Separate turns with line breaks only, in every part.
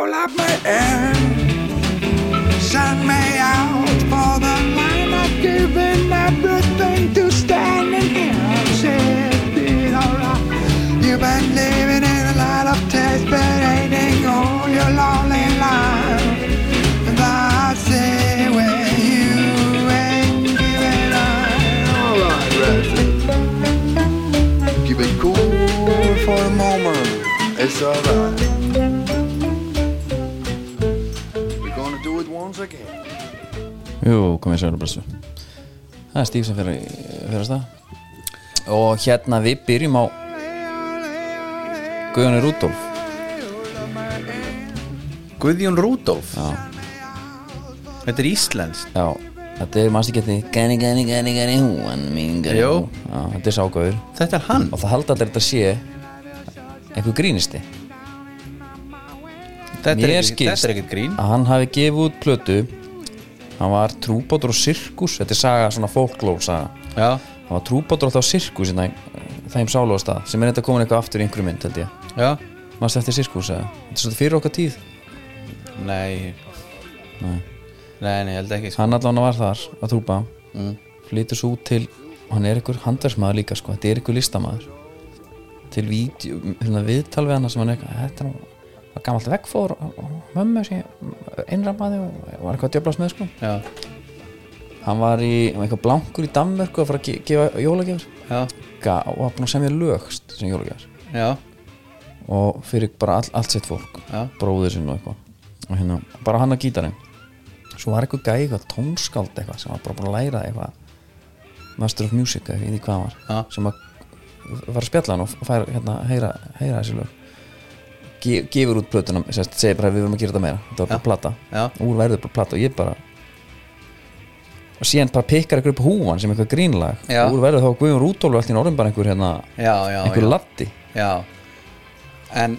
roll up my end. Sun me out for the line of giving everything to standing here. I said, did alright. You've been living in a lot of tests, but hating all your lonely life. And I say, when you ain't giving up. Alright, Redfield. Keep it cool for a moment. It's alright. We're gonna do it once again.
Jú, komið sér að blessu Það er Stíf sem fer fyrir stað Og hérna við byrjum á Guðjóni Rúdolf
Guðjón Rúdolf
Já,
Þetta er íslenskt
já Þetta er mannstu getið Gani, gani, gani, gani, húan mín gani,
Jú.
hú. Já, þetta er ságauður
Þetta er hann
Og það halda allir að þetta sé Einhver grínisti
Þetta er,
Mér
ekki,
skilst.
þetta er ekkert grín
Að hann hafi gefið út plötu Hann var trúbátur og sirkus Þetta er saga, svona folklór saga
Já
Hann var trúbátur á þá sirkus Það þeim sálega stað Sem er þetta komin eitthvað aftur í einhverju mynd, held ég
Já
Manstu eftir sirkus, eða? Þetta er svolítið fyrir okkar tíð
Nei Mm. Nei, nei, ég held ekki sko.
Hann allan var þar að trúpa Flytur svo út til Hann er einhver handverksmaður líka, sko Þetta er einhver listamaður Til vídeo, hérna, viðtal við hana sem hann er eitthvað Þetta er nú var gamalt vegfór og- og Mömmu sem ég einrammaði Og var eitthvað að djöflast með, sko
Já
Hann var í, hann var eitthvað blankur í Danmörku Að fara að ge- gefa jólagjafur
Já
Ga- Og var búin að semja lögst sem jólagjafur
Já
og fyrir bara all, allt sitt fólk
Já.
bróðir sinn og eitthvað og hérna, bara hann að gítarinn svo var eitthvað gæði eitthvað tónskáld eitthvað sem var bara búin að læra eitthvað Master of Music eða ég veit ekki hvað hann var
Já.
sem að var að spjalla hann og fær hérna heyra, heyra þessi lög Ge, gefur út plötuna, sérst, segir bara við verðum að gera þetta meira þetta var bara plata,
Já.
úr verður bara plata og ég bara og síðan bara pikkar eitthvað upp húan sem eitthvað grínlag
Já.
úr verður þá Guðjón Rútólu allt í norðum bara einhver hérna,
Já, já,
einhver
já.
latti
Já En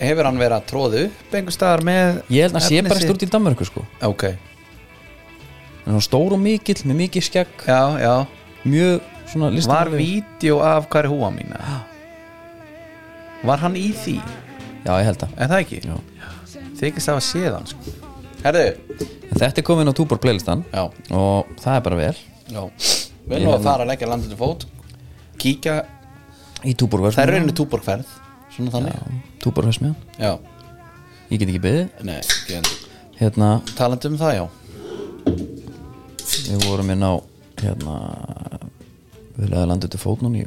hefur hann verið að tróðu upp einhver staðar með
ég held að hann sé
efnið
bara
sitt?
stúrt í Danmörku sko
Ok,
en hún stór og mikill með mikið skegg
já, já
mjög svona
Var
listamannlegur.
vídeo af hvað er húa mína? Var hann í því?
já ég held að
Er það ekki?
Já.
Þykist það að séð hann sko Herðu
En þetta er komin á túbor playlistan
Já.
og það er bara vel
Já Við nú að fara að leggja landið til fót Kíkja,
í túbor
það er rauninni túborgferð Svona þannig
túbor versmiðan
Já,
ég get ekki beðið
nei, ekki endur
hérna
Talandi um það, já
við vorum inn á hérna við leðum landið til fót núna í,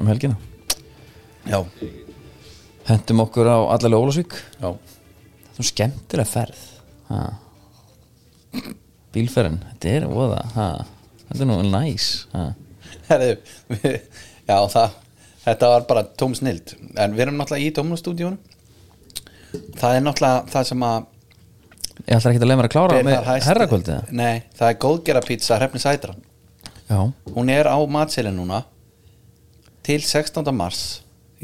um helgina
Já,
hendum okkur á allalega Ólasvík
já,
þetta er skemmtilega ferð ha. bílferðin þetta er voða ha. þetta er nú næs ha.
Herðu, við- já það, þetta var bara tóm snild En við erum náttúrulega í tómnastúdíun Það er náttúrulega það sem að
ég ætlar ekki að leið mér að klára
ber þar
með
hæst-
herrakvöldið
Nei, það er góðgera pizza Hrefni Sætran
já
Hún er á matselin núna Til 16. mars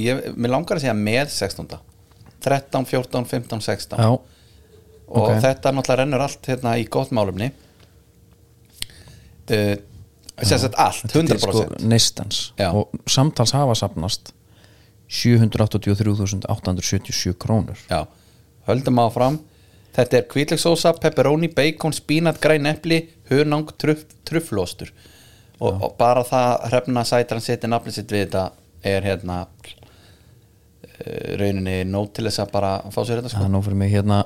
Ég, Mér langar að segja með 16. 13, 14, 15, 16
Já,
og
ok.
þetta náttúrulega rennur allt hérna í gott málumni uh, sérsett allt, 100%
sko, neistans
Já.
og samtals hafa safnast 783.877 krónur
Já, höldum áfram Þetta er kvítlöksósa, pepperoni, bacon, spínat, græn epli, hunang, truff, trufflóstur og, og bara það hrefna sætran seti nafnið sitt við þetta er hérna eh, rauninni nót til þess að bara fá sér þetta
það
sko
er nú fyrir mig hérna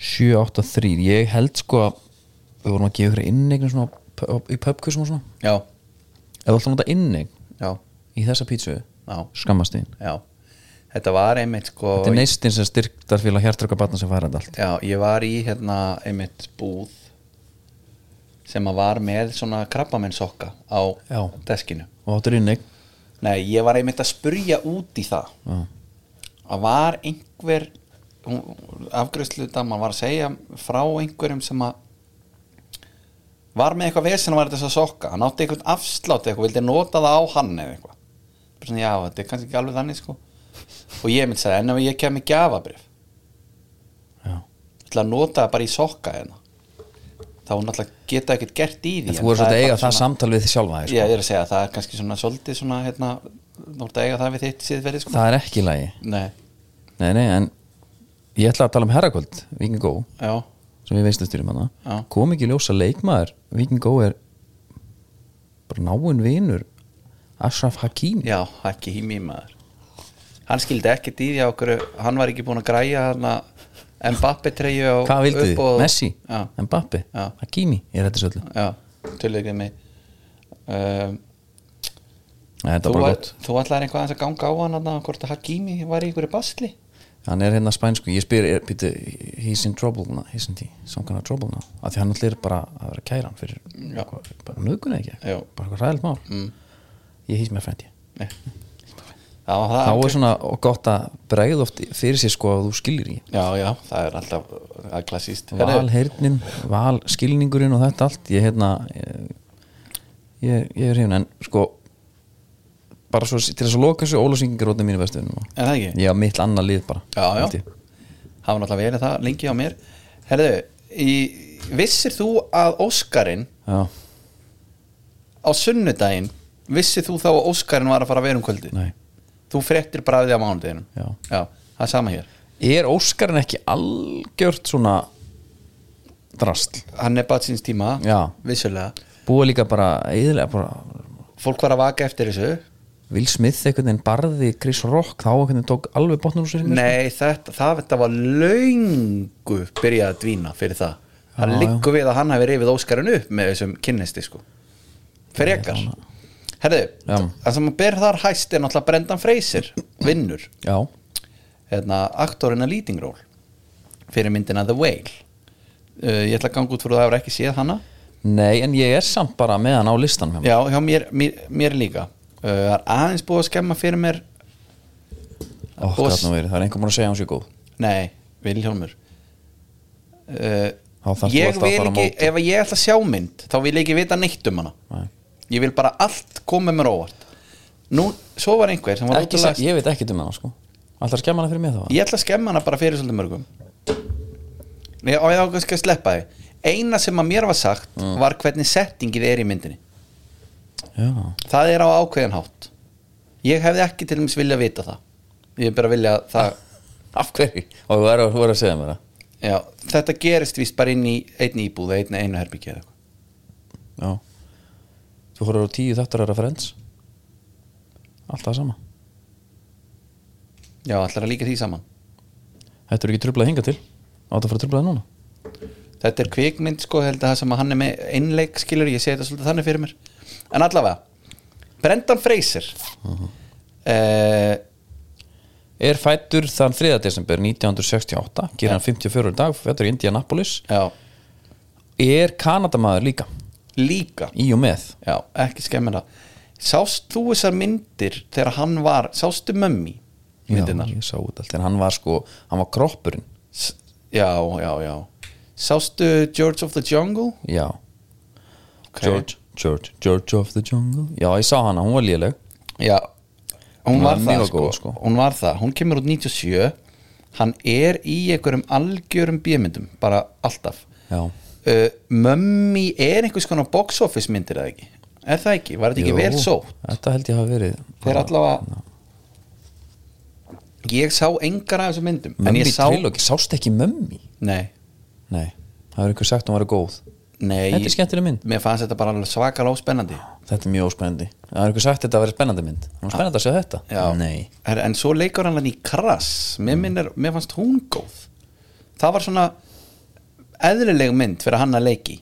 783 ég held sko að við vorum að gefa ykkur innegn svona á- á- í pubkursum og svona
Já,
ef þú ætlar að nota innegn
já,
í þessa pítsu
já,
skammast þín
já Þetta var einmitt sko
þetta er neistins að styrktar fíla hjartröka batna sem færa þetta allt
Já, ég var í hérna einmitt búð sem að var með svona krabbamenn sokka á
Já.
deskinu
og áttur innegn
Nei, ég var einmitt að spurja út í það
Já.
að var einhver afgreðslu daman var að segja frá einhverjum sem að var með eitthvað vesen að var þess að sokka, hann átti eitthvað afslátt eða eitthvað, vildi nota það á hann eða eitthvað Bara svona, já, þetta er kannski ekki alveg þannig sko og ég mynd sagði, en ef ég kem með gjafabrif
Já.
ætla að nota það bara í sokka hérna þá náttúrulega geta ekkert gert í því
en þú voru
það
svolítið að eiga
bara
það
svona-
samtal við þið sjálfa þig,
Já,
sko.
ég er að segja, það er kannski svona svolítið svona, hérna, þú ert að eiga það við þitt síðverði sko
það er ekki í lagi
Nei
Nei, nei, en ég ætla að tala um herrakvöld Víkingó,
já,
sem við veistum styrum hana
Já.
kom ekki í ljós að leikmaður Víkingó er bara náinn vinur Ashraf Hakimi
já, ekki hími maður hann skildi ekki dýði á okkur hann var ekki búin að græja þarna Mbappe treyju á
Hvað vildu þið?
uppboð-
Messi?
já,
Mbappi?
Já.
Hakimi? Ég er þetta svolítið
já, töluðið mig um,
Nei, þetta
þú,
er bara
var-
gott
þú ætlaðir eitthvað aðeins að ganga á hann þarna, hvort að Hakimi var í einhverju basli
Hann er hérna spænsku, ég spyr, er, býtu, he's in trouble now, he's in the, some kind of trouble now af því hann allir bara að vera kæran fyrir
Já.
eitthvað- bara nögun eða ekki,
Já.
bara eitthvað ræðilt mál mm. ég hýs með frendi
Nei. það var það
Þá er svona gott að bregða oft fyrir sér sko að þú skilir í
já, já, það er alltaf að klassíst Herðu,
Valheyrnin, valskilningurinn og þetta allt ég hérna ég, ég, ég er hérna en sko bara svo til þess að loka þessu ólásingar rótni mínu vestunum
er það ekki?
ég á mitt annað lið bara
Já, já.
held ég.
hafa náttúrulega verið það lengi á mér Herðu, í, vissir þú að Óskarinn
já,
á sunnudaginn vissir þú þá að Óskarinn var að fara að vera um kvöldi?
nei
Þú fréttir bræði á mánudeginum
Já.
það er sama hér
Er Óskarinn ekki algjört svona drast?
Hann er bara síns tíma,
Já.
vissulega
Búið líka bara eðilega bara
Fólk var að vaka eftir þessu
Will Smith einhvern veginn barði Chris Rock þá einhvern veginn tók alveg botnur úr sér einhvern veginn,
Nei, þetta, það, þetta var löngu byrjað að dvína fyrir það Það
Já,
liggur við að hann hafi reyfið Óskarinn upp með þessum kynnisti sko Frekar Herðu,
Já.
það sem að ber þar hæst er náttúrulega Brendan Fraser, vinnur
sko. Já,
hérna, aktorina leading role fyrir myndina The Whale uh, ég ætla að ganga út fyrir að það hefur ekki séð hana
nei en ég er samt bara með hann á listan
já, hjá mér, mér, mér líka uh, það er aðeins búið að skemma fyrir mér
Ó,
Og-
gat nú verið, það er einhver búin að segja hans ég góð
nei, Vilhjálmur uh,
Þá þarft þú
ég
alltaf að
vil
fara á
ekki,
móti.
ef ég ætla að sjá mynd þá vil ég ekki vita neitt um hana
Nei.
ég vil bara allt koma mér óvart nú, svo var einhver sem var
ekki,
útilega
Ég veit ekki um hann sko Alltaf að skemma hann fyrir mig þá
Ég ætla að skemma hana bara fyrir svolítið mörgum Nei, og ég ákveð skal sleppa því Eina sem að mér var sagt var hvernig settingið er í myndinni
Já,
Það er á ákveðin hátt Ég hefði ekki til dæmis vilja vita það Ég er bara vilja að það
af hverju? Og þú er að, þú er að segja mér það
Já, þetta gerist víst bara inn í einn íbúð einn einu herbyggja eða eitthvað
Já Þú horfður á tíu þáttur að referens Alltaf það sama
Já, allar að líka því saman
Þetta er ekki trublað hinga til Átt að fara að trubla það núna
Þetta er kvikmynd sko, held að það sem að hann er með einleik skilur, ég segi þetta svolítið þannig fyrir mér En allavega, Brendan Fraser eh, uh
Er fættur þann 3. desember 1968 Gerir hann 54 í dag, fættur í Indianapolis
Já,
Er Kanadamaður líka
líka
Í og með
Já, ekki skemmin það Sást þú þessar myndir þegar hann var Sástu mömmi myndirnar
Já, ég sá út allt En hann var sko, hann var kroppurinn
S- Já, já, já Sástu George of the Jungle
Já,
Ok.
George, George, George of the Jungle Já, ég sá hana, hún var léleg
Já, hún
Hún
var
var
það
mjög
sko.
góð, sko.
Hún var það, hún kemur út 97 Hann er í einhverjum algjörum bímyndum Bara alltaf
Já,
uh, Mömmi er einhvers konar box office myndir eða ekki Er það ekki? Var þetta ekki
Jú,
vel sótt?
Þetta held ég hafa verið
Þeir allavega Ég sá engar af þessum myndum en
Mömmi
ég
sá...
sá
sást ekki mömmi
Nei,
Nei, það er einhver sagt hún var góð
nei
Þetta er skemmtileg mynd.
Mér fannst þetta bara alveg svakalega óspennandi
Þetta er mjög óspennandi Það er einhver sagt þetta að vera spennandi mynd Hún er spennandi að sjá þetta
Já.
Nei Mm.
Her, En svo leikur hann hann í krass mér, minnir, mér fannst hún góð Það var svona eðlileg mynd fyrir hann að leiki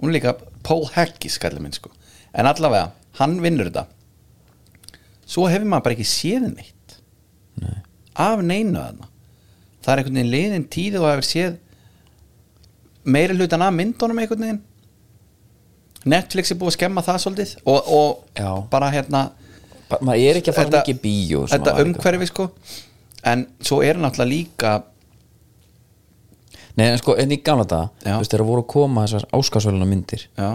Hún er líka Paul Haggis kallar minn sko En allavega, hann vinnur þetta Svo hefur maður bara ekki séð neitt
Nei.
Af neinu þarna Það er einhvern veginn liðin tíð og hefur séð meiri hlutan af myndunum einhvern veginn Netflix er búið að skemma það svolítið og, og
Já.
bara hérna
Ba- maður er ekki að fara
Þetta-
mikið í bíó og svona
þetta
væri-
umhverfi sko en svo er náttúrulega líka
nei en sko en í gamla daga
Já.
þú veist þegar voru að koma þessar áskarsvöluna myndir
já,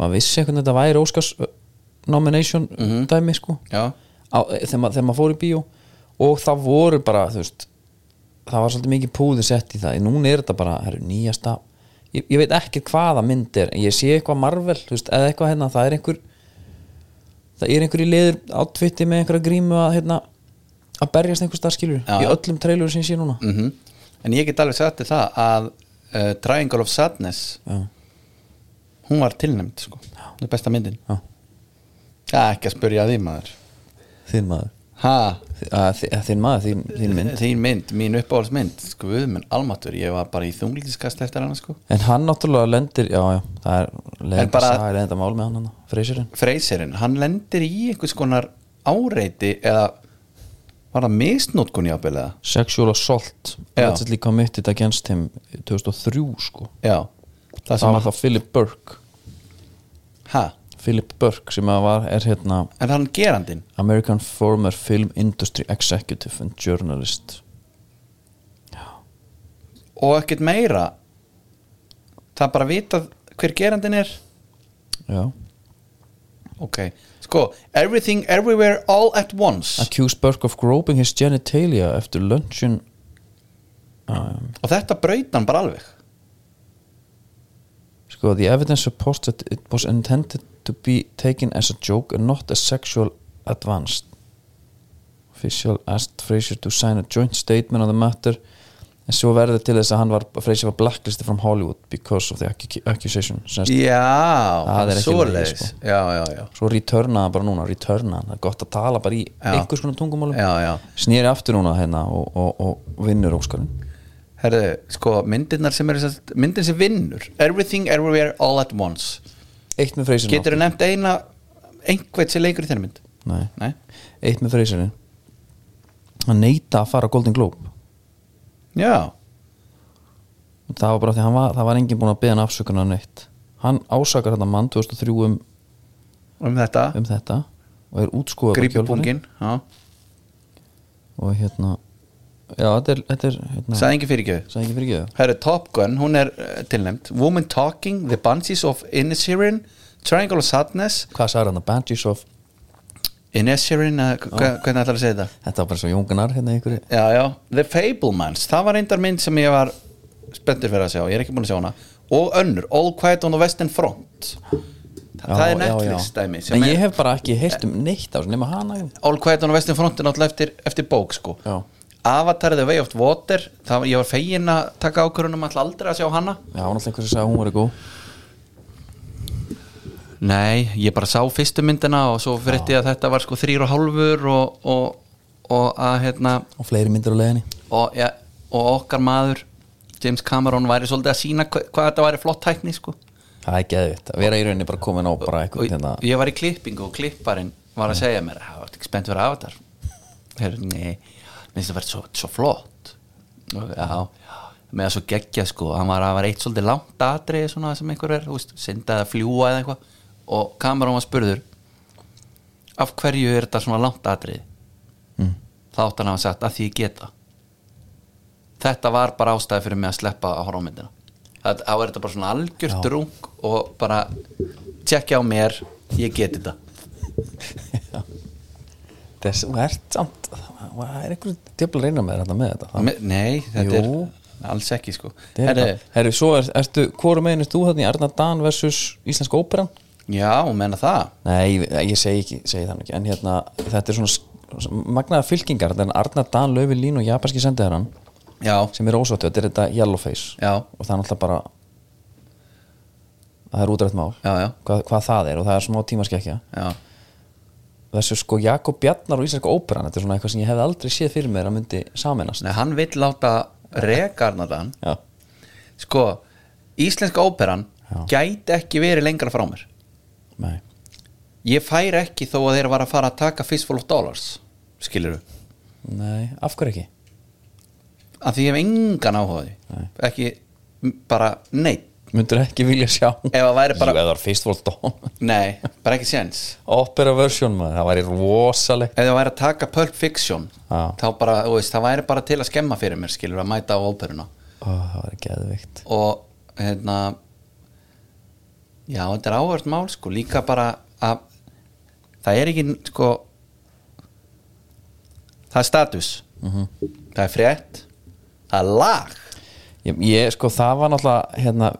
maður vissi einhvern veginn að þetta væri óskars uh, nomination dæmi sko
já,
á, e, þegar, maður, þegar maður fór í bíó og það voru bara þú veist það var svolítið mikið púði sett í það núna er þetta bara heru, nýjasta ég, ég veit ekki hvaða mynd er ég sé eitthvað Marvel þú veist, eða eitthvað hérna það er einhver það er einhver í liður átfitti með einhverja grímu að hérna að berjast einhvers stað skilur
Já,
í
já.
öllum trailur sem ég sé núna
mm en ég get alveg sagt til það að uh, Triangle of Sadness
já,
hún var tilnæmt sko, það er besta myndin
já,
það er ekki að spurja því maður
þinn maður
ha,
Þi- að þi- að þinn maður, þín, þín mynd
þín mynd, mín uppáhaldsmynd sko, við minn almatur, ég var bara í þunglítiskast eftir hana sko,
en hann náttúrulega lendir, já, já, það er
En
leiðenda
bara-
saga, leiðenda mál með hann hann, freysirinn
Freyserinn hann lendir í einhvers konar áreiti eða var það misnótkun jáfnvel eða
Sexual Assault
Já.
allegedly committed against him 2003 sko
já, það
það var
sem að,
þá Philip Burke
ha,
Philip Burke sem að var, er hérna
en hann gerandinn
American former film industry executive and journalist
og ekkert meira það er bara vitað hver gerandinn er
já.
ok, sko, everything, everywhere, all at once
accused Burke of groping his genitalia eftir luncheon um,
og þetta braut hann bara alveg
Sko, the evidence supports that it was intended to be taken as a joke and not as sexual advance. Official asked Fraser to sign a joint statement on the matter en svo verði til þess að hann var Fraser var blacklisted from Hollywood because of the accu- accusation Senst,
já,
Það er ekki
svoleiðis.
lagi, sko.
já, já, já,
svo returnaði hann bara núna returnaði, hann. það er gott að tala bara í
Já.
einhvers konar tungumálum
já, já.
snýri aftur núna hérna og, og, og vinnur Óskarinn
Herðu, sko, myndirnar sem er myndin sem vinnur, everything, everywhere, all at once
eitt með Fraser
getur þú nefnt eina einhvern sem leikur í þenni mynd
Nei.
Nei?
eitt með Fraser hann neita að fara á Golden Globe
já,
það var bara því að hann var, það var enginn búinn að beða hann afsökunar neitt hann ásakar þetta mann 2003 um,
um þetta
um þetta og er útskúðað bara í kjölfarið.
grípupungin, já,
og hérna já, þetta er, þetta er hérna,
sagði engin fyrirgjöð
sagði ekki fyrir ekki
Herðu, Top Gun, hún er uh, tilnæmt Woman Talking, The Bunsies of Inisherin Triangle of Sadness
hvað sagði hann að Banshees of
Inisherin, uh, hva- hvernig ætlar að segja þetta?
þetta var bara svo jónganar hérna í einhverju
já, já, The Fablemans það var reyndar mynd sem ég var spenntur fyrir að sjá, ég er ekki búin að sjá hana og önnur, All Quiet on the Western Front Þa, það er Netflix dæmi
en
sem
ég
er,
hef bara ekki heyrt um neitt á þessu nema hana já,
All Quiet on the Western Front er náttúrulega eftir, eftir bók sko
Já.
Avatar The Way of Water það, var- ég var fegin að taka ákvörunum alltaf aldrei að sjá hana
hann alltaf einhverju sagði að hún var góð
nei, ég bara sá fyrstu myndina og svo frétti ég að þetta var sko þrýr og hálfur og, og, og að hérna
og fleiri myndir á leiðinni
og, ja, og okkar maður James Cameron væri svolítið að sína hvað, hvað þetta væri flott tækni sko
það er geðvitt að vera í rauninni bara komin á bara
og
eitthvað hérna
ég var í klippingu og klipparinn var að segja mér það var ekki spennt fyrir avatar Her, nei, minnst það verið svo, svo flott og, já, með að svo geggja sko hann var, hann var eitt svolítið langt atrið svona sem einhver er, þú veist, syndaði að fljúa eða eitthvað og kamerón var spurður af hverju er þetta svona langt atrið
Mm.
þá átti hann að hafa sagt að því ég geta þetta var bara ástæði fyrir mig að sleppa að horfa á myndina Það- þá er þetta bara svona algjör
Já.
drung og bara tjekkja á mér, ég geti þetta
þess, þú ert samt það er einhverju djöfla að reyna með þetta með þetta Það-
Me, nei, þetta
Jú.
er alls ekki sko
Herri,
Herri,
herri, svo er, ertu, hvorum meginn ertu þú þarna í Arna Dan versus Íslenska óperan?
já, menna það
Nei, ég, ég segi ekki, segi þannig ekki en hérna, þetta er svona s- magnaðar fylkingar, þetta er Arna Dan, Löfi Lín og japanski sendiðarann
já,
sem er ósvötu, þetta er þetta Yellowface
já,
og það er náttúrulega bara það er útrætt mál
já, já,
hvað, hvað það er og það er smá tímaskekkja
já.
versus sko Jakob Bjarnar og Íslenska óperan þetta er svona eitthvað sem ég hef aldrei séð fyrir mér að myndi saminast
Nei, hann vill láta rekarnadan
Já,
sko, íslenska óperan
Já.
gæti ekki verið lengra frá mér
nei,
ég fær ekki þó að þeir var að fara að taka fistful of dollars, skilur við
nei, af hverju ekki?
að því ég hef engan áhuga á því
Nei.
ekki m- bara nei
Myndur ekki vilja sjá
ef það væri
Jú,
bara,
eða fyrst fólk dóm
nei, bara ekki séns
Opera version maður, það væri rosalegt
ef það væri að taka Pulp Fiction
Já.
þá bara, þú veist, það væri bara til að skemma fyrir mér skilur að mæta á óperuna
Ó, Það væri geðvikt
og hérna já, þetta er áhört mál sko, líka bara að það er ekki sko það er status Mhm. það er frétt það er lag,
ég, ég, sko, það var náttúrulega hérna,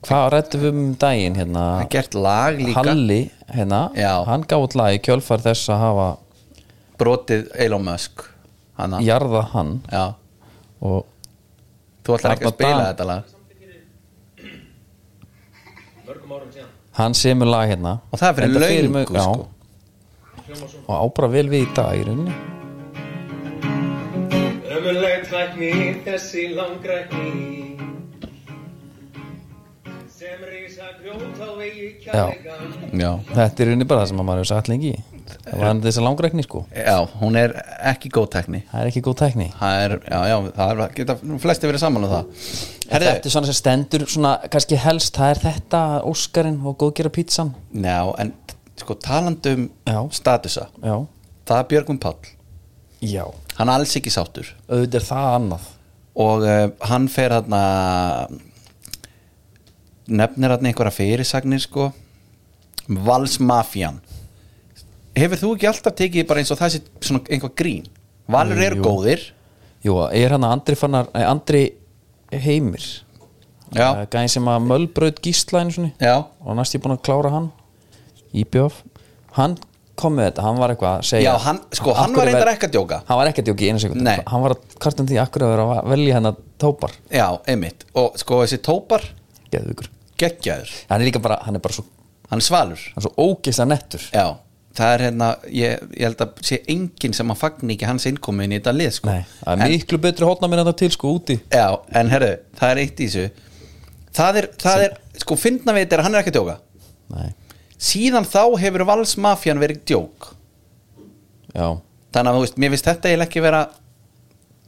Hvað rættum við um daginn hérna
það er gert lag líka
Halli, hérna,
Já.
hann gaf út lag í kjölfar þess að hafa
brotið Elon Musk Hanna.
jarða hann
Já,
og
þú ætlar ekki
Arnar
að spila
Dan.
þetta lag
hann semur lag hérna
Og það er fyrir
Enda
löngu,
mjög- já.
sko.
og á bara vel við í dag í rauninni
Ömurleg tækni, þessi langrækni sem rísa grjót á vegi kjærleikan
Já,
þetta er í rauninni bara það sem að maður hefur sagt lengi það var hann þess að langrækni sko
já hún er ekki góð tekni
það er ekki góð tækni
Það er, já, já, það er, geta flesti verið saman um það
Herri,
Herðu,
þetta er svona sem stendur svona kannski helst það er þetta Óskarinn og góðgera pítsan
já, en sko talandum
Já.
statusa
já
Það er Björgum Pall,
já
hann er alls ekki sáttur
auðvitað er það annað
og uh, hann fer hann nefnir hann einhverja fyrirsagnir sko Valsmafjan Hefur þú ekki alltaf tekið bara eins og það sé svona einhver grín? Valur eru
Jú.
góðir
jú er hann að Andri fannar eh, Andri Heimir
Já,
gæðin sem að Mölbraut Gísla einu svona
já,
og næst ég búin að klára hann Íbjöf hann kom með þetta, hann var eitthvað að segja
já hann, sko,
Af
hann
hverju
var reyndar
ver-
ekki að djóka
hann var ekki að djóki einu sekund
Nei.
hann var að kvartum því akkur að vera að velja hennar tópar
Já, einmitt, og sko þessi tópar
geðvíkur
geggjaður,
hann er líka bara, hann er bara svo,
hann er svalur
hann er svo ógeðslega nettur
Já, það er hérna ég, ég held að sé enginn sem að fagni ekki hans innkomin í þetta lið sko.
Nei, það er
en,
miklu betri hótna minn þetta til sko úti
Já, en herru, það er eitt í þessu Það er, það er sko, fyndna við þetta er að hann er ekki að djóka
Nei.
Síðan þá hefur valsmafjan verið djók
já,
Þannig að þú veist, mér finnst þetta eiginlega ekki vera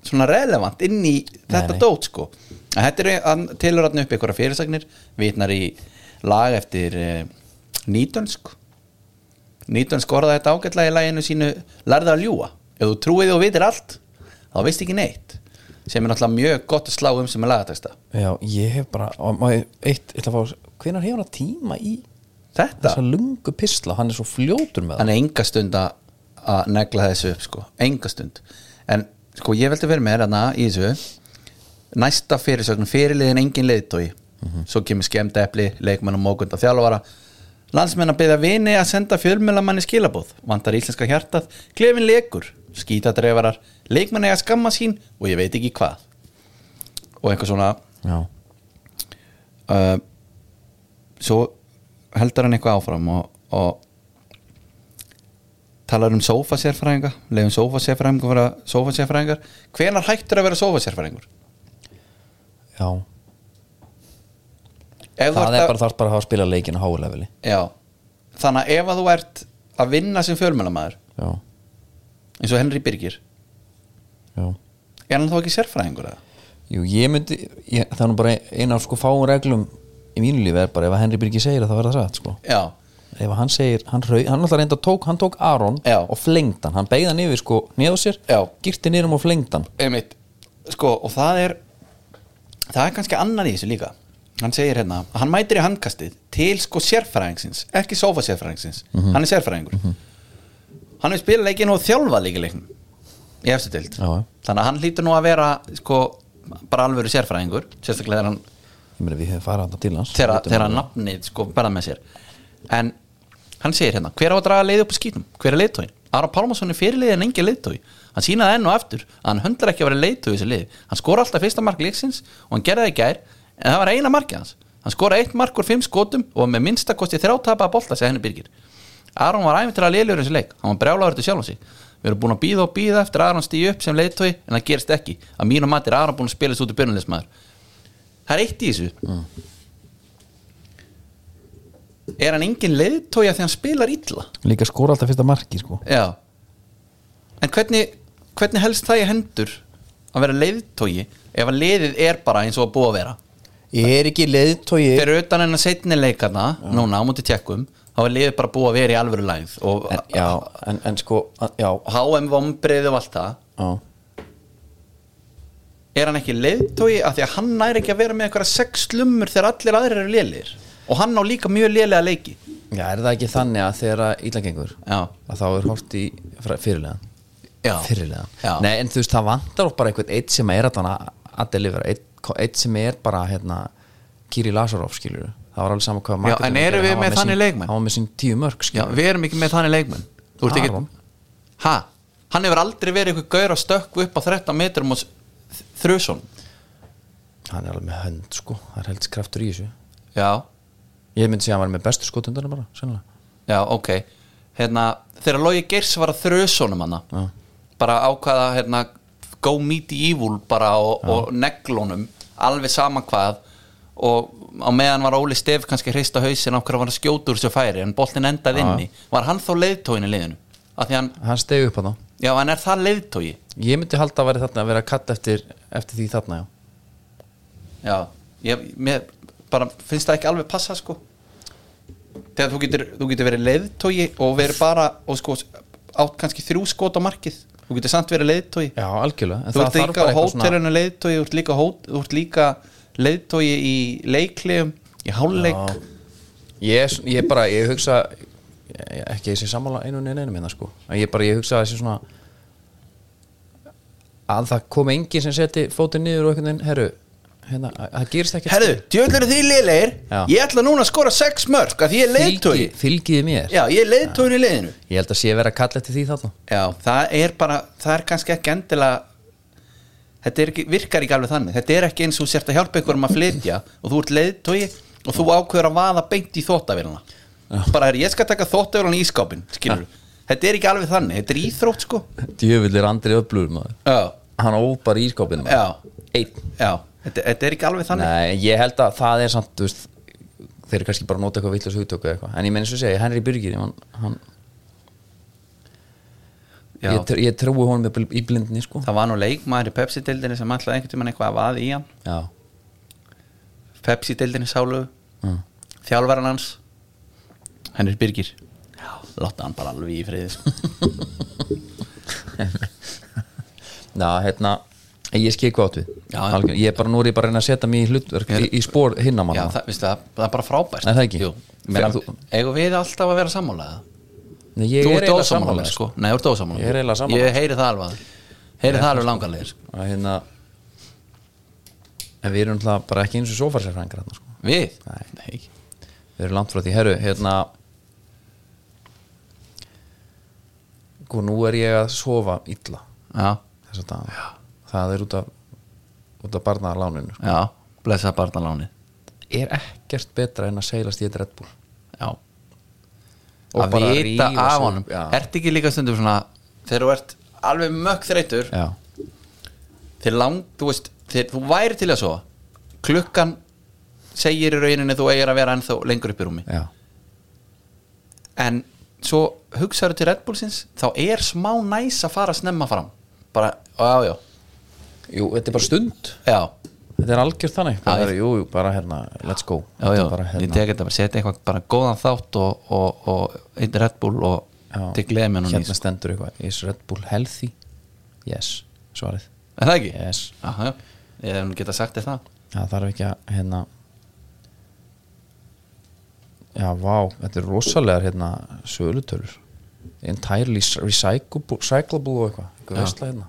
svona relevant inn í þetta
nei.
dót sko En Þetta er tilurðan upp ykkur fyrirsagnir vitnar í lag eftir eh, nýtönsk nýtönsk orðaði þetta ágætlega í laginu sínu lærða að ljúa ef þú trúið og vitir allt þá veist ekki neitt sem er náttúrulega mjög gott að slá um sem er lagatesta
já, ég hef bara og má ég- eitt, ég ætla að fá hvenær hefur hann tíma í
þetta,
þessa lungu pisla, hann er svo fljótur með það
hann er enga stund að- að negla þessu upp sko, enga stund en sko ég veldi verið með hérna í þessu næsta fyrirsögn fyrirliðin engin leiðtói
Mhm.
svo kemur skemmt epli, leikmenn og mókund og þjálfara landsmenn að byrja vini að senda fjölmjölamanni skilabóð vantar íslenska hjartað, klefin lekur skítadreifarar, leikmenn eiga að skamma sín og ég veit ekki hvað og einhver svona
já,
uh, svo heldur hann eitthvað áfram og, og talar um sófasérfræðinga leiðum sófasérfræðingar vera sófasérfræðingar hvenar hættur að vera sófasérfræðingur
já
ef þú
það
ert
er
að,
bara þarf bara að hafa að spila leikin á háuleveli
já, þannig að ef að þú ert að vinna sem fjölmjölamæður
já,
eins og Henry Birgir
já
er hann þá ekki sérfræðingur eða?
Jú, ég myndi, ég, það er nú bara eina af sko fáum reglum í mínu lífi er bara ef að Henry Birgi segir það þá er það satt sko
já,
ef að hann segir, hann rauð, hann alltaf reynda tók hann tók Aron
Já.
og flengd hann hann beigði hann yfir sko neðu sér
Já.
girti nýrum og flengd hann
einmitt sko, og það er það er kannski annar í þessu líka hann segir hérna, hann mætir í handkastið til sko sérfræðingsins, ekki sófasérfræðingsins hann er sérfræðingur hann er spilað leikinn og þjálfað leikileiknum í efstu dild
Já, já.
þannig að hann hlýtur nú að vera sko, bara alvöru sérfræðingur sérstaklega þegar hann,
ég meina við hefum farað hann til hans
þegar,
Vitum
þegar
hann.
nafnið sko, bara með sér en hann segir hérna, hver á að draga leiði upp á skýtum hver er leiðtóin? Aron Pálmarsson er fyrirliði en engin leiðtói hann sínaði enn og aftur að hann höndlar ekki að vera leiðtói í þessu liði hann skora alltaf fyrsta mark leiksins og hann gerði það í gær en það var eina markið hans hann skora eitt mark úr fimm skotum og var með minnstakosti þrjátapa að bolta segja henni byrgir Aron var æfintir að leiðljóður þessu leik hann var brjálaður til sjálfum sig við erum búin að býða og býða eftir að Aron stíði upp sem leiðtói en það gerist ekki að mínum mati er Aron búin að spila þessu út í byrjunleismæður það er eitt í þessu er hann engin leiðtója þegar hann spilar illa
líka skora alltaf fyrsta marki sko
já en hvernig, hvernig helst það í hendur að vera leiðtóji ef að leiðið er bara eins og að búa að vera
ég er ekki leiðtogi
fyrir utan hennar setni leikarna núna á múti tjekkum þá er leiðið bara búa að vera í alvöru lægð og
en, já, en, en sko að- já,
HM vombrið og allt það
já,
er hann ekki leiðtóji af því að hann næri ekki að vera með eitthvað sex slumur þegar allir aðrir eru leiðir og hann á líka mjög leiðlega leiki
já er það ekki þannig að þegar að illa gengur
já,
að þá er hort í fyrirlegan
já, já.
fyrirlega Nei, en þú veist, það vantar okkur bara einhvern eitt sem er að, að delivera, eitt, eitt sem er bara hérna, Kiri Lazarov skilur það var alveg sama hvað
Já,
marketing
en eru
gerði,
við
hann var
með
sín-
þannig leikmenn?
hann var með sín tíu mörg
já,
skilur
við erum ekki með þannig leikmenn þú ert
Aron.
ekki ha, hann hefur aldrei verið eitthvað gaur að stökku upp á 13 metrum og þrjusun
hann er alveg með hönd sko, það er helds kraftur í þessu
já,
ég myndi segja að hann var með bestu skotundana bara sennilega.
já, ok hérna, þegar Logi Geirs var að þrjusunum hana
Já.
bara ákvaða hérna, go meet the evil bara og, og neglunum alveg sama hvað og á meðan var Óli Stef kannski hrista hausin á hverju hann var að skjóta úr sér færi en boltin endaði inni, var hann þá leiðtóin í liðinu, af því hann
hann stegi upp að þá
já, hann er það leiðtói
ég myndi halda að vera þarna að vera að kalla eftir, eftir því þarna já
Já, ég, mér bara finnst það ekki alveg passa sko þegar þú getur, þú getur verið leiðtogi og verið bara og sko átt kannski þrjú skot á markið þú getur samt verið leiðtogi
já algjörlega en
þú
það
ert
þarf
líka
bara
á
eitthvað svona-
hótelinu leiðtogi þú ert líka, hó, þú ert líka leiðtogi í leikliðum, í hálfleik
ég, er sv- ég bara, ég hugsa ég- ekki þessi sammála einu neina einu minna sko en ég bara, ég hugsa að þessi svona að það kom engin sem seti fótinn niður og einhvern veginn, herru hérna, að- það gerist ekki
herðu, djöðlur þið liðleir
Já.
ég ætla núna að skora sex mörg að því ég er leiðtogi
fylgiði mér
já, ég er leiðtogi í leiðinu
ég held að sé að vera að kalla eftir því þarna
Já, það er bara, það er kannski ekki endilega þetta er ekki, virkar ekki alveg þannig þetta er ekki eins og þú sért að hjálpa ykkur um að flytja og þú ert leiðtogi og þú ákveður að vaða beint í þóttavélina bara er ég skal taka þóttavélina í skápin skilur þetta er ekki alveg þannig, þetta er íþrótt sko
djöfull er andri öflugur maður
Já,
hann ópar í skópinu maður
já,
einn
já þetta, þetta er ekki alveg þannig
Nei, ég held að það er samt þú veist, þeir eru kannski bara að nota eitthvað vitlaus hugtöku eða eitthvað, en ég menn eins og segja, Henry Birgir hann, hann,
Já.
ég, tr ég trúi honum í bl- í blindni sko
það var nú leikmaður í Pepsi-deildinni sem ætlaði einhvern tímann eitthvað að vaða í hann
Já,
Pepsi-deildinni sálu mm. þjálfvaran hans Henrik Birgir láta hann bara alveg í friði sko.
Ná, hérna en ég skil hvað átt við
Já.
Algjör, ég er bara, nú er ég bara að reyna að setja mig í hlutverk í, í spór hinna
Já,
manna
það, veistu, það, það er bara frábært
Nei, það ekki.
Jú, menn,
Þú-
Eigum við alltaf að vera sammálaða?
Nei, ég er
Þú ert
eiginlega
ósammála mér,
sammála,
sko Nei, þú ert ósammála
Ég er
mér.
eiginlega sammála.
Ég heyri það alveg að- Heyri það alveg langarlega sko.
að hérna en við erum alltaf bara ekki eins og sófarsérfrængar hérna, sko.
Við?
Nei. við erum langt frá því, herru, hérna sko, nú er ég að sofa illa
Já,
þess að dana það er út af út af barnaðarláninu sko.
já, blessa barnaláni
er ekkert betra en að seilast í eitt Red Bull
Já
Og
Að
bara
vita
rífa sig
af
upp,
honum
já.
Ertu ekki líka stundum svona Þegar þú ert alveg mökk þreytur
já,
Þegar lang, þú veist Þegar þú væri til að svo Klukkan segir í rauninni Þú eigir að vera ennþá lengur upp í rúmi
já,
en svo hugsaðu til Red Bullsins þá er smá næs að fara snemma fram bara, já, já,
jú, þetta er bara stund
já
Þetta er algjörð þannig bara,
Já, ég-
Jú, jú, bara hérna, let's go
já,
Þetta
já,
er bara,
ég
hérna,
tek þetta bara setja eitthvað bara góðan þátt og, og, og einn Red Bull og
já,
til gleði mér nú
Hérna
nýs
stendur eitthvað, is Red Bull healthy? Yes, svarið
er það ekki?
Yes,
já, já, ég hef nú geta sagt þér það
það þarf ekki að hérna Já, vá, þetta er rosalegar hérna sölutölur entirely recyclable, recyclable og eitthvað, eitthvað
Já.
veistla hérna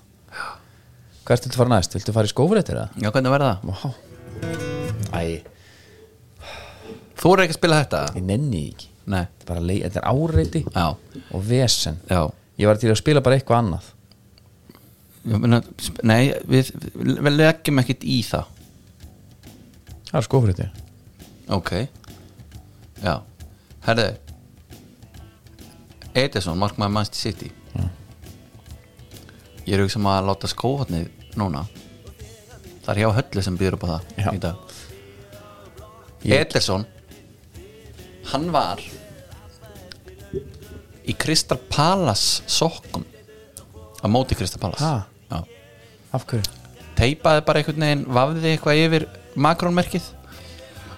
Hvert viltu fara næst? Viltu fara í skófréttir eða?
já, hvernig verða það?
Vá Æ,
þú er ekki að spila þetta?
ég nenni því ekki
nei,
Þetta er bara leið, þetta er áreiti
já,
og vesen
já
Ég var til að spila bara eitthvað annað
Ég meina, sp- nei, við, við við leggjum ekkert í það
Það er skófréttir
ok já, herðu Edison, markmaður Manchester City ég er hugsa maður að láta skóhotnið núna það er hjá höllu sem býður upp á það
Já.
í dag
Ég-
Edison hann var í Crystal Palace sokkum á móti Crystal Palace
Ha?
Já.
Af hverju?
teipaði bara einhvern veginn vafði eitthvað yfir makrónmerkið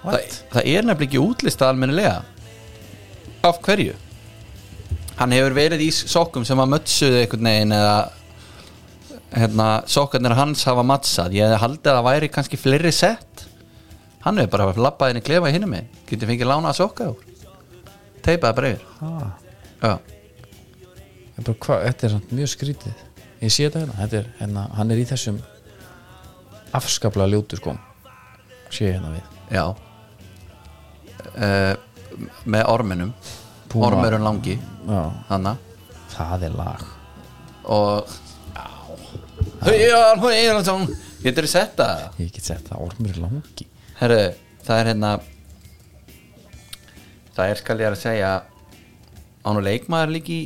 Þa, það er nefnilega ekki útlistað almennilega af hverju hann hefur verið í sokkum sem að mötsuðu einhvern veginn eða hérna, sokkarnir hans hafa matsað ég hefði haldið að það væri kannski fleiri sett hann hefur bara labbað inn í klefa í hinum með getið fengið lánað að sokka úr teipaði bara yfir
Ha?
Já.
Ég Bara, hva, þetta er samt mjög skrítið Ég sé þetta hérna, þetta er, hérna Hann er í þessum afskaplega ljótu skóm Sé ég hérna við
Já uh, Með orminum
Puma.
Ormurinn langi
Já,
Hanna
það er lag
og Hujan Hujan getur þú sett það
Ég get sett það ormur langi
herru, það er hérna það er skal ég að segja án og leikmaður líki í,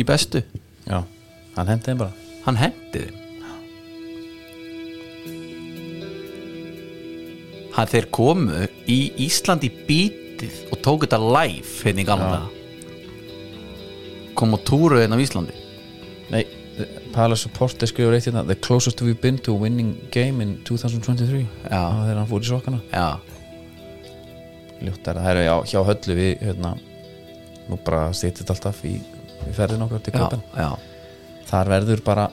í bestu
Já, hann hendi þeim bara
hann hendi þeim hann þeir komu í Íslandi bítið og tók þetta live hérna í gamla
Já.
daga. kom á túru hérna á Íslandi
Nei, the- Palace Supporter skrifur eitt hérna The closest we've been to winning game in 2023
Já.
Það var þegar hann fór í sokkana
já,
Ljótt er að það er já, hjá höllu við hérna, nú bara stýttist alltaf í, í ferðin okkar til
já,
köpen
já,
Þar verður bara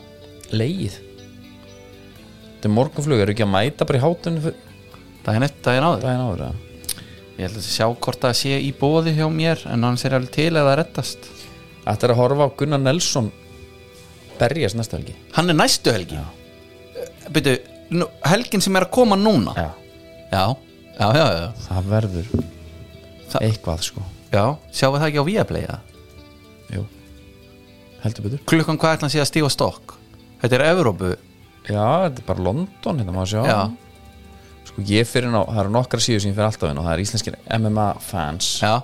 leið Þetta er morgunflug, eru ekki að mæta bara í hátunni fyrir
daginn eftir, daginn áður
daginn áður eða?
ég ætla að sjá hvort það sé í bóði hjá mér en hann sér alveg til að það rettast
Þetta er að horfa á Gunnar Nelson berjast næsta helgi
hann er næstu helgi byrju, nú- helgin sem er að koma núna já, já, já, já, já,
Það verður
Það-
eitthvað sko
já. sjáum við það ekki á Viaplay eða?
Jú. Heldur betur
klukkan hvað ætla hann sé að stíga á stokk þetta er Evrópu
Já, þetta er bara London hérna má sjá
Já.
Sko ég fyrir ná, það eru nokkra síður sem ég fyrir alltaf inn og það er íslenskir MMA fans
já,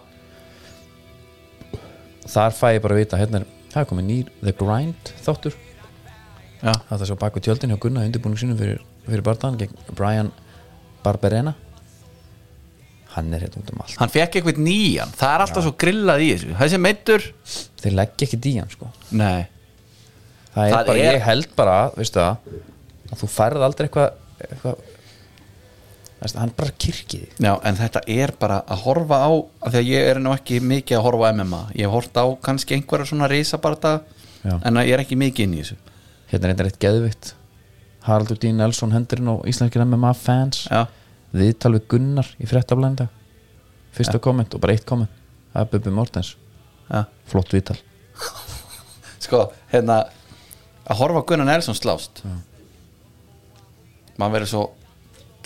Þar fæ ég bara að vita, hérna er, það er komið nýr The Grind þáttur
já,
Það er að sjá baku tjöldin hjá Gunna undirbúning sínum fyrir, fyrir barðan gegn Brian Barberena Hann er hérna út um allt
hann fekk eitthvað nýjan það er alltaf svo grillað í þessu þessi meittur,
Þeir leggja ekki díjan sko
nei
það er
Það
bara,
er-
ég held bara veistu það, að þú færð aldrei eitthvað eitthvað veistu, hann bara kirkið þig.
Já, en þetta er bara að horfa á af því að ég er nú ekki mikið að horfa á MMA ég hef horft á kannski einhverja svona risabarta
Já.
en að ég er ekki mikið inn í þessu
hérna er eitthvað eitt geðvitt Haraldur Dín Nelson hendurinn og íslenskir MMA fans
Já,
viðtal við Gunnar í fréttablæðinda fyrsta komment og bara eitt komment það er Bubbi Mortens,
já
flott viðtal
Sko, hérna að horfa á Gunnar Nelson slást já. maður verður svo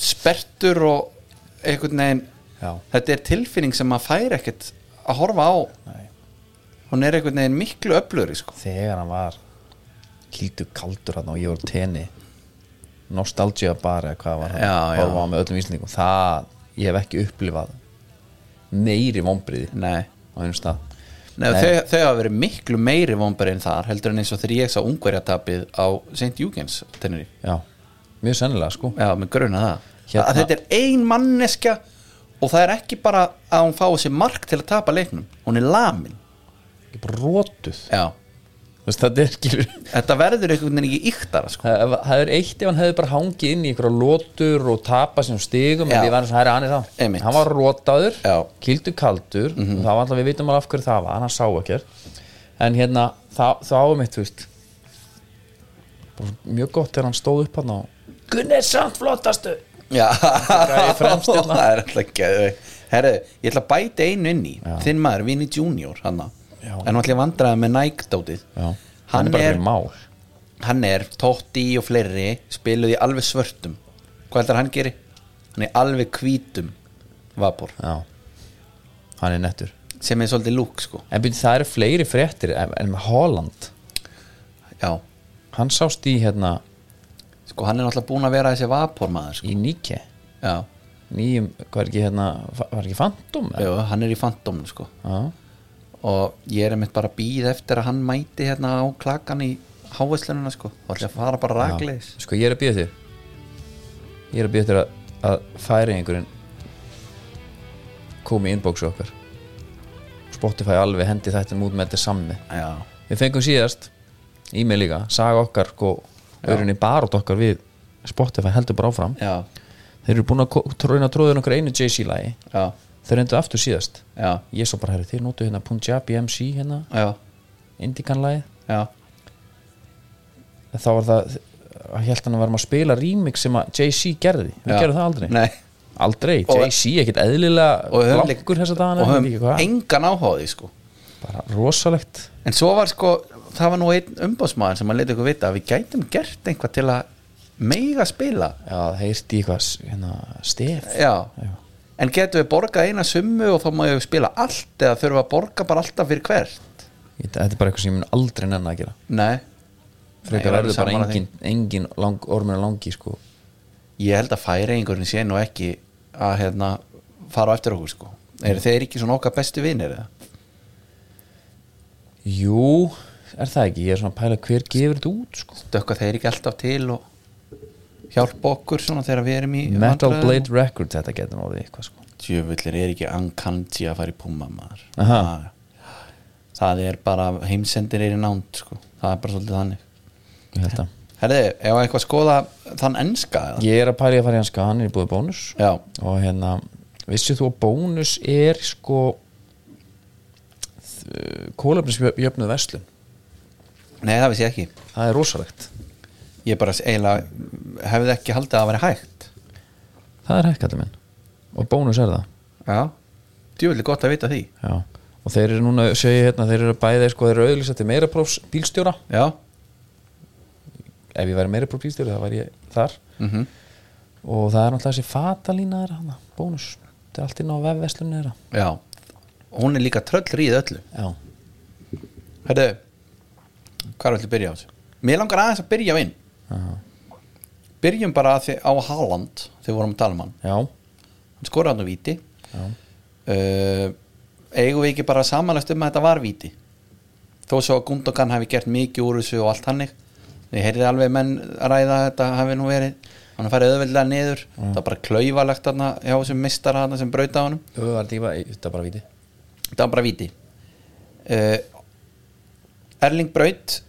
spertur og einhvern veginn
Já.
þetta er tilfinning sem maður fær ekkert að horfa á
Nei.
hún er einhvern veginn miklu öflöri sko.
þegar hann var kildu kaldur hann og ég var á tenni nostalgia bara eða hvað var hann
Já, já.
horfa á með öllum íslendingum það, ég hef ekki upplifað meiri vonbriði
Nei,
á einum stað
Nei,
Nei.
Þau, þau hafa verið miklu meiri vombari en þar heldur en eins og þegar ég sá ungverjatabið á St. Júgens tennir
já, mjög sennilega sko
Já, með gruna það
Hérna-
að Þetta er ein manneskja og það er ekki bara að hún fái sér mark til að tapa leiknum hún er lamin
ekki brotuð
Já,
Þess, það, er, skilur,
þetta verður einhvern veginn ekki yktara sko.
það, það er eitt ef hann hefði bara hangið inn í einhverja lotur og tapað sem stigum
Já.
en ég var eins og það er hann í
Einmitt.
það hann var rotaður,
Já. Mhm.
kildu kaldur mm það var alltaf, við vitum alveg af hverju það var hann sá ekkert en hérna, það, það ámitt, þú veist bara mjög gott þegar hann stóð upp hann og Gunnar samt flottastu
Já,
gæi fremst hérna.
það er alltaf geðveik Herru, ég ætla að bæta einu inn í
Já.
þinn maður, Vinni Junior hana.
Já.
en hún ætla að vandraði með nægdótið
já, hann er
Hann
bara
er-
fyrir mál
hann er Totti og fleiri spiluði alveg svörtum hvað heldur hann geri? hann er alveg hvítum vapor
já. hann er nettur
sem er svolítið lúk sko
en byrju, það eru fleiri fréttir en, en með Holland
já,
hann sást í hérna
sko hann er náttúrulega búin að vera þessi vapor maður sko.
í Nike
já,
nýjum, hvað er ekki hérna fa- var ekki Phantom? eða?
Jú, hann er í fantómnu sko
Já,
og ég er einmitt bara að býð eftir að hann mæti hérna á klakan í háveslununa sko og ætla að fara bara
já.
rakleis
sko ég er að býða þér ég er að býða þér að, að færi einhverjum komi í inboxu okkar Spotify alveg hendi þetta út með þetta sammi
já,
við fengum síðast e-mail líka, saga okkar sko, og auðvunni barótt okkar við Spotify heldur bara áfram
já,
þeir eru búin að ko- tróina tróðin okkur einu JC lagi
já,
þeir reyndu aftur síðast
já
ég svo bara herri, þeir notu hérna Punjabi MC hérna,
já,
Indikan lagi
já,
þá var það að held hann að verðum að spila remix sem að Jay-Z gerði við
Já.
gerum það aldrei
Nei.
aldrei,
Og-
Jay-Z ekkert eðlilega
og höfum, lík-
langur þess að dana
og höfum engan áháði sko
bara rosalegt
En svo var sko, það var nú einn umbásmaður sem að leta ykkur vita að við gætum gert einhvað til að mega spila
já, það heyrti í eitthvað s- hérna, stef
Já,
Já.
en getum við borgað eina summu og þá má ég spila allt eða þurfum við að borga bara alltaf fyrir hvert
Ég- Þetta er bara eitthvað sem ég mun aldrei nenni að gera
Nei
Frekar
Nei, ég
verður bara
sammála því.
engin, engin lang, ormur langi sko
Ég held að færi einhverjum sé nú ekki að hérna, fara á eftir okkur sko
Mm.
Er þeir ekki svona okkar bestu vinir eða?
Jú, er það ekki? Ég er svona að pæla hver gefur þetta út sko
Dökka þeir ekki alltaf til og hjálpa okkur svona þegar við erum í
Metal Blade Records, þetta getur nú orðið eitthvað sko
Tjöfullir er ekki ankanti að fara í púma maður
Aha.
Það- Það er bara heimsendir er í nánd sko Það er bara svolítið þannig
Ég held að
Herði, ef eitthvað að skoða þann enska eða?
Ég er að pæla í að fara í hanska, hann er í búið bónus
Já,
og hérna vissið þú að bónus er sko kólefnisjöfnuð verslun
nei það vissi ég ekki
það er rosalegt
Ég bara eiginlega hefði ekki haldið að það væri hægt
það er hækkallið minn og bónus er það
Já Djúvillig gott að vita því
Já. og þeir eru núna, segi ég hérna þeir eru bæði sko, þeir eru auðvitað til meira prófs bílstjóra
Já
ef ég væri meira prófs bílstjóra þá væri ég þar
mm
og það er náttúrulega þessi fatalína þeirra hana, bónus, þetta er allt inn á vefverslunni þeirra
Já Hún er líka tröll ríð öllu
Já.
Herðu Hvað er allir að byrja á þessu? Mér langar aðeins að byrja á inn
Aha.
Byrjum bara að því, á Haaland Þegar vorum að tala um hann
Já.
Hann skoraði hann á víti
Já.
uh, Eigum við ekki bara samanlegt um að þetta var víti Þó svo að Gundogan hafi gert mikið úr þessu og allt hannig Ég heyrði alveg menn ræða að þetta hafi nú verið Hann er farið auðveldlega niður
Mm.
Það var bara klaufalegt hann hjá þessum mistara hann sem brauta á hann
Það var þetta ekki- þetta er bara viti
þetta var bara viti uh, Erling Braut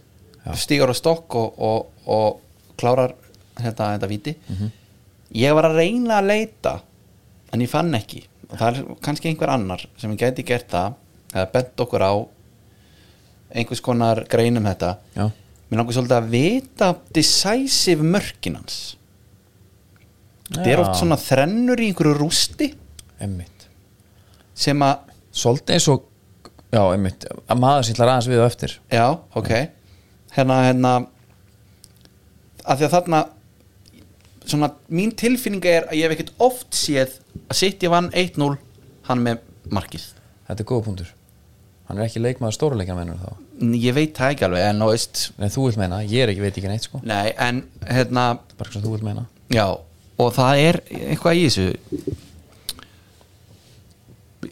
stígur á stokk og, og, og klárar þetta, þetta viti ég var að reyna að leita en ég fann ekki og það er kannski einhver annar sem ég gæti gert það eða bent okkur á einhvers konar greinum þetta
Já.
mér langar svolítið að vita decisive mörkin hans þetta er
Já.
oft svona þrennur í einhverju rústi
Einmitt.
sem að
svolítið eins og já, einmitt, að maður sýtlar aðeins við og eftir
Já, ok Hérna, hérna að því að þarna svona, mín tilfinning er að ég hef ekkert oft séð að City vann 1-0 hann með markið
þetta er góða punktur hann er ekki leikmaður stóruleikjan mennur þá
N- Ég veit það ekki alveg, en þú veist
en þú vilt meina, ég er ekki, veit ekki neitt sko
Nei, en hérna,
bara sem þú vilt meina
já og það er eitthvað í þessu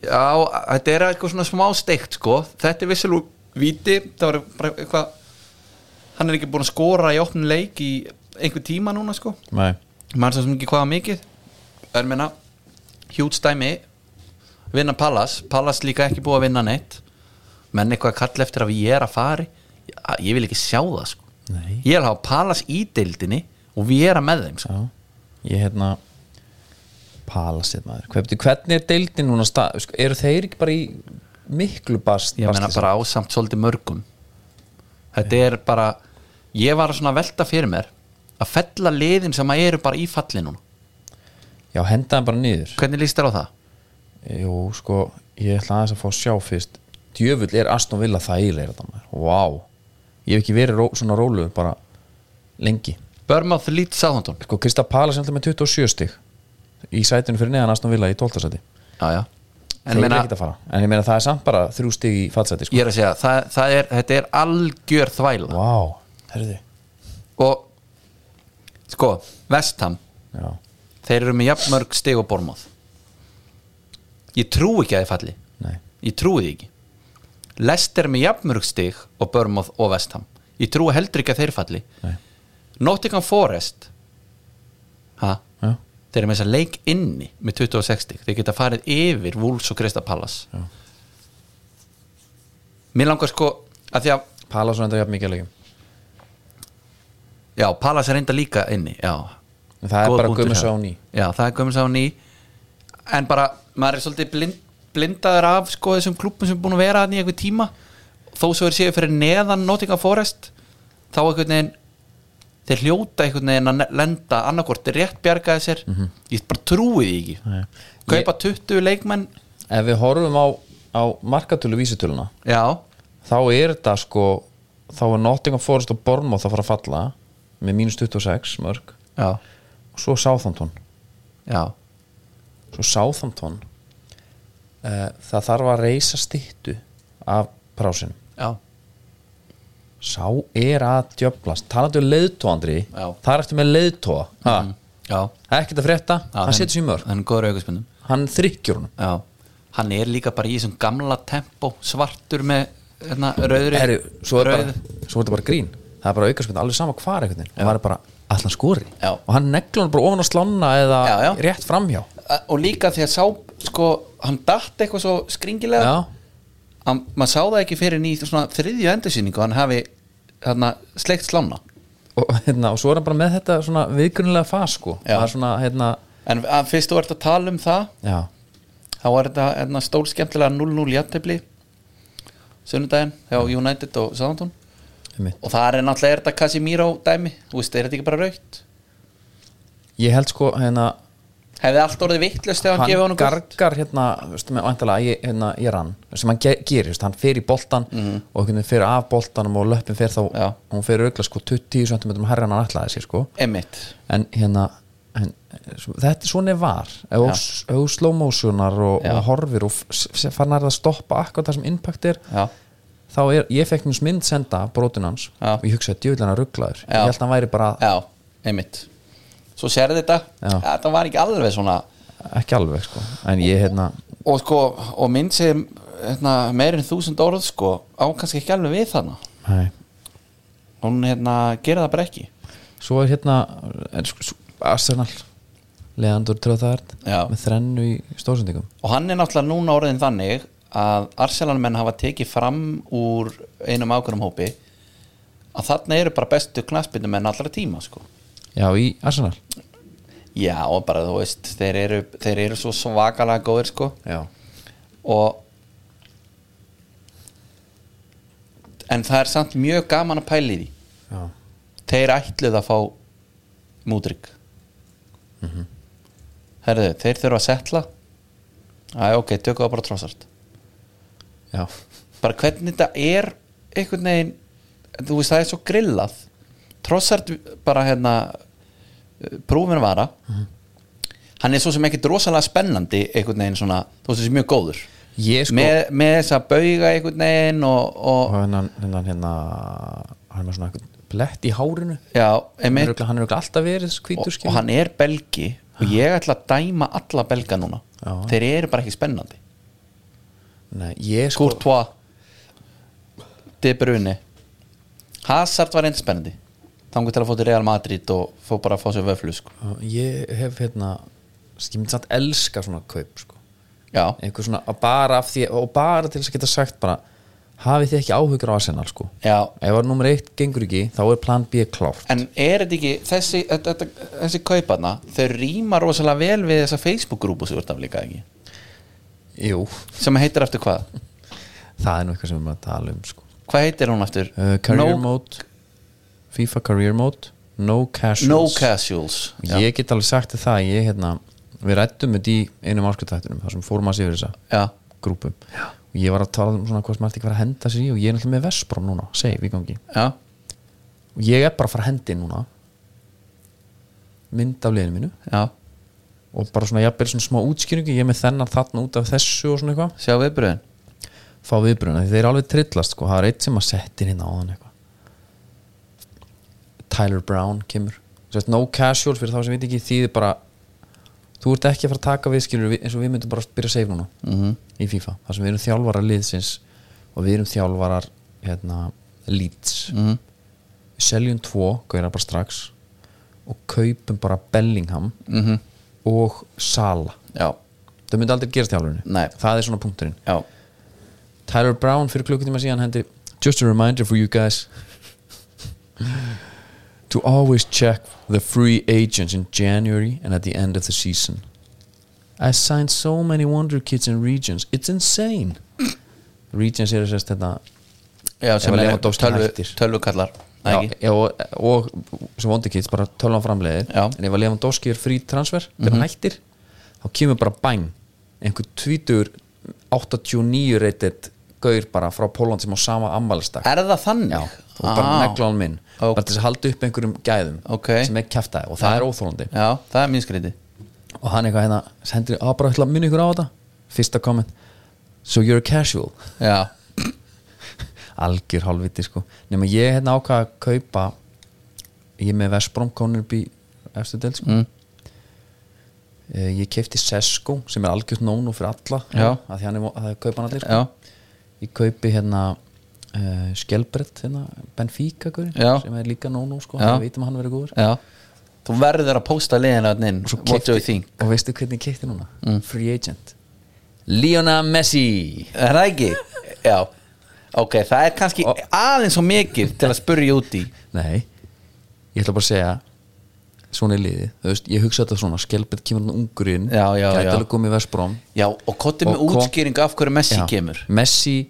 Já, þetta er eitthvað svona smá steikt sko, þetta er vissilú víti, það var bara eitthvað hann er ekki búin að skora í opnum leik í einhver tíma núna sko
Nei.
maður svo sem ekki hvaða mikið er meina hjút stæmi vinna Pallas, Pallas líka ekki búið að vinna neitt menn eitthvað að kalla eftir að ég er að fari ég, ég vil ekki sjá það sko
Nei.
ég vil hafa Pallas í deildinni og við erum með þeim sko.
já, ég hérna palasið maður, hvernig, hvernig er deildin núna stað, sko, eru þeir ekki bara í miklu bast
ég meina bara ásamt svolítið mörgum þetta er bara ég var svona að velta fyrir mér að fella liðin sem að eru bara í falli núna
já, henda hann bara niður
hvernig líst þér á það?
jú, sko, ég ætla aðeins að fá að sjá fyrst djöfull er Aston Villa þægilega þetta maður, wow ég hef ekki verið ró, svona róluður bara lengi
Börmáð lít sáðhandun
sko Krista Pala sem með 27 stig í sætinu fyrir neðan Aston Villa í 12. sæti
já já
Þeir
En
eru
meina-
ekkert að fara. en ég meina það er samt bara þrjú stig í fatsæti sko.
ég er að segja, það, það er, þetta er algjör þvæla
wow, herðu
og sko, Vestham
já,
þeir eru með jafnmörg stig og bormóð ég trú ekki að þið falli
nei,
ég trúi því ekki Lester er með jafnmörg stig og bormóð og Vestham ég trú heldur ekki að þeir falli
nei,
Nottingham Forest ha?
já,
þeir eru með þess að leik inni með 26 stig, þeir geta farið yfir Wolves og Krista Pallas
Já.
mér langar sko að því að
Pala svo enda jafn mikið að leikum
Já, Palace er reynda líka inni Já,
En það er
Góð
bara
punktur
Gummi
hjá þér.
Sáni.
Já, það er Guðmunds á ný En bara, maður er svolítið blind, blindaður af sko þessum klúppum sem er búin að vera þannig í einhver tíma Þó svo er séu fyrir neðan Nottingham Forest Þá einhvern veginn Þeir hljóta einhvern veginn að ne- lenda annarkvort rétt bjargaði sér Ég bara trúi því ekki
Mhm. Nei.
Kaupa 20 leikmenn
ef við horfum á, á markatölu vísitöluna
Já,
þá er þetta sko þá er Nottingham Forest og Bournemouth að fara að falla með mínus 26 mörg
já,
og svo Southampton
já
svo Southampton eh, uh, það þarf að reysa stýttu af prásinum
Já,
sá er að djöflast talaðu um leiðtóa Andri
Já.
þar ertu með leiðtóa mm.
Já,
ekkert að frétta,
Já,
hann setur sér mörg
Hann er góður aukaspennum
hann þrykkjur honum
Já, hann er líka bara í þessum gamla tempo svartur með hérna, rauðri
Heru, svo, er bara,
rauðu.
svo er þetta bara grín það er bara aukarspinn, alveg sama hvar einhvern veginn og maður er bara allan skori
Já.
og hann negla hann bara ofan á slána eða
Já, já.
rétt framhjá
Að- Og líka því að sá sko, hann datt eitthvað svo skringilega
Já.
hann, maður sá það ekki fyrir nýtt svona þriðju endursýningu hann hafi hérna, sleikt slána
og, hérna, og svo er hann bara með þetta svona viðgrunlega fas sko
Já.
það er svona, hérna,
en að, fyrst þú ert að tala um það
já,
þá var þetta hérna, stólskemmtilega 0-0 jættefli sunnudaginn hjá United og Southampton
einmitt.
og það er náttúrulega er þetta Casimiro dæmi þú veist, er þetta ekki bara raukt
ég held sko hérna,
hefði allt orðið vittlust ef hann, gefið
hann
honum gult
gargar hérna, veistu, með, væntanlega, ég, hérna, ég rann sem hann ge gerir, veistu, hann fer í boltan og einhvern veginn fer af boltanum og löppin fer þá
Mhm. Já.
og hún fer augla sko 20 cm herra en hann ætlaði sér sko
Emmitt,
en hérna en, svo- þetta er svona var ef
Já.
þú s- ef þú slow motionar og,
Já.
og horfir og f- s- farnar að stoppa akkur það sem impact er
já,
þá er, ég fekk njúst mynd senda af brotun hans
Já.
og ég hugsaði djöðlega rugglaður
Já.
ég held að hann væri bara
já, emmitt Svo sérði þetta,
Já.
þetta var ekki alveg svona
ekki alveg sko en ég hérna,
og sko, og mynd sem hérna, meirin þúsund orð sko á kannski ekki alveg við þarna
hei
hún hérna, gera það bara ekki
svo er hérna er, sko, svo- Arsenal Leandur Tröðaðard
Já.
með þrennu í stórsendingum
og hann er náttúrulega núna orðin þannig að Arsenalmenn hafa tekið fram úr einum ákveðum hópi að þarna eru bara bestu knaspindumenn allra tíma sko
já í Arsenal
já og bara þú veist þeir eru, þeir eru svo svakalega góðir sko
já,
og en það er samt mjög gaman að pæli því
já.
þeir ætluð að fá múdrygg herðu, þeir þurfa að setla aðja ok, tökum það bara trossart
já.
bara hvernig þetta er einhvern veginn, þú veist það er svo grillað trossart bara hérna prúfin vara hann er svo sem ekki drosalega spennandi einhvern veginn svona, þú veist þessi mjög góður
ég sko
með, með þess að bauga einhvern veginn og,
og
og
hennan, hennan hérna hann er með svona einhvern blett í hárinu
já,
hann er
einmitt
örugglega- hann er örugglega alltaf verið
og,
hvítur
og
skilur.
hann er belgi og ég ætla að dæma alla belga núna
Já.
þeir eru bara ekki spennandi
Nei, ég sko
Courtois De Bruyne Hazard var einn spennandi þangur til að fótt í Real Madrid og fór bara að fá sér vöflu sko.
ég hef hérna ég myndi samt elska svona kaup sko.
já,
einhver svona að bara af því og bara til þess að geta sagt bara hafið þið ekki áhugur á Arsenal sko
já
ef að nummer eitt gengur ekki þá er plan B klárt
en er þetta ekki þessi, þetta, þetta, þessi kaupana þau rýma rosalega vel við þessa Facebook grúpu sem þú ert af líka ekki
jú
sem heitir eftir hvað?
það er nú eitthvað sem við erum að tala um sko
hvað heitir hún eftir?
uh, career
no,
mode FIFA career mode no casuals
no Casuals já,
ég get alveg sagt þér það ég hérna við rættum þetta í einum áskutættunum þar sem fórum að sér þessa
já,
grúpum og ég var að tala um svona hvað sem allt ekki var að henda sér í og ég er náttúrulega með Vespróm núna save í gangi
já,
og ég er bara að fara að hendi núna mynd af liðinu mínu
já.
og bara svona jafnvel svona smá útskýringu ég er með þennan þarna út af þessu og svona eitthvað
sjá viðbröðin
fá viðbruna, þeir eru alveg trillast sko. það er eitt sem að setja inn hérna á hann eitthvað Tyler Brown kemur Sest, no casuals fyrir þá sem við ekki þýði bara þú ert ekki að fara að taka viðskilur eins og við myndum bara að byrja að save núna -hmm. í FIFA, þar sem við erum þjálfarar liðsins og við erum þjálfarar hérna, leads -hmm. við seljum tvo, gauðra bara strax og kaupum bara Bellingham -hmm. og Sala
já,
það myndi aldrei gerast þjálfurinu
Nei.
það er svona punkturinn
já
Tyler Brown fyrir klukkutíma síðan hendi Just a reminder for you guys to always check the free agents in January and at the end of the season. I signed so many wonder kids in regions. It's insane. regions eru sérst hérna, þetta
Já, sem
Ef að
er
Lewandowski
tölvu,
hættir.
tölvukallar Nei,
já,
ekki?
já, og, og sem wonder kids bara tölvan framleiðir
Já.
en ef að Lewandowski er frí transfer þegar hann hættir þá kemur bara bæn einhver tvítur 89 reytið gaur bara frá Póland sem á sama ammálistag
Er það þannig?
Já, og bara
Ah,
negla hann minn
Ó.
bara til þess að halda upp einhverjum gæðum
Ok.
sem er kjaftaði og það er óþólandi
Já, það er mjög skríti
og hann eitthvað hérna sendir að bara ætla að minna ykkur á þetta fyrsta komment so you're a casual
Já,
algjör hálfviti sko nema ég hérna ákvað að kaupa ég er með Vestbrom Connerby efstu del sko
Mm.
Eh, ég keipti Sesko sem er algjört nónu fyrir alla
Já.
að því hann er, vo- að það er kaupan allir sko.
Já,
ég kaupi hérna uh, Skelbrett hérna, Benfica gaurin,
Já.
sem er líka nónu sko,
Já.
það veitum hann verið góður
já Þú verður að pósta liðina þarna inn
Og svo
What do you
keypti-
think?
og veistu hvernig ég keipti núna
Mm.
free agent Lionel Messi
Er það ekki? Já Ok, það er kannski
Og-
aðeins svo mikið til að spurja út í
Nei, ég ætla bara að segja svona er liðið, þú veist, ég hugsa þetta svona Skelbett kemur hann ungur inn
Já, já, já.
gætalega komið Vestbrom
Já, og kotið með
Og kom-
útskýring af hverju Messi kemur
Messi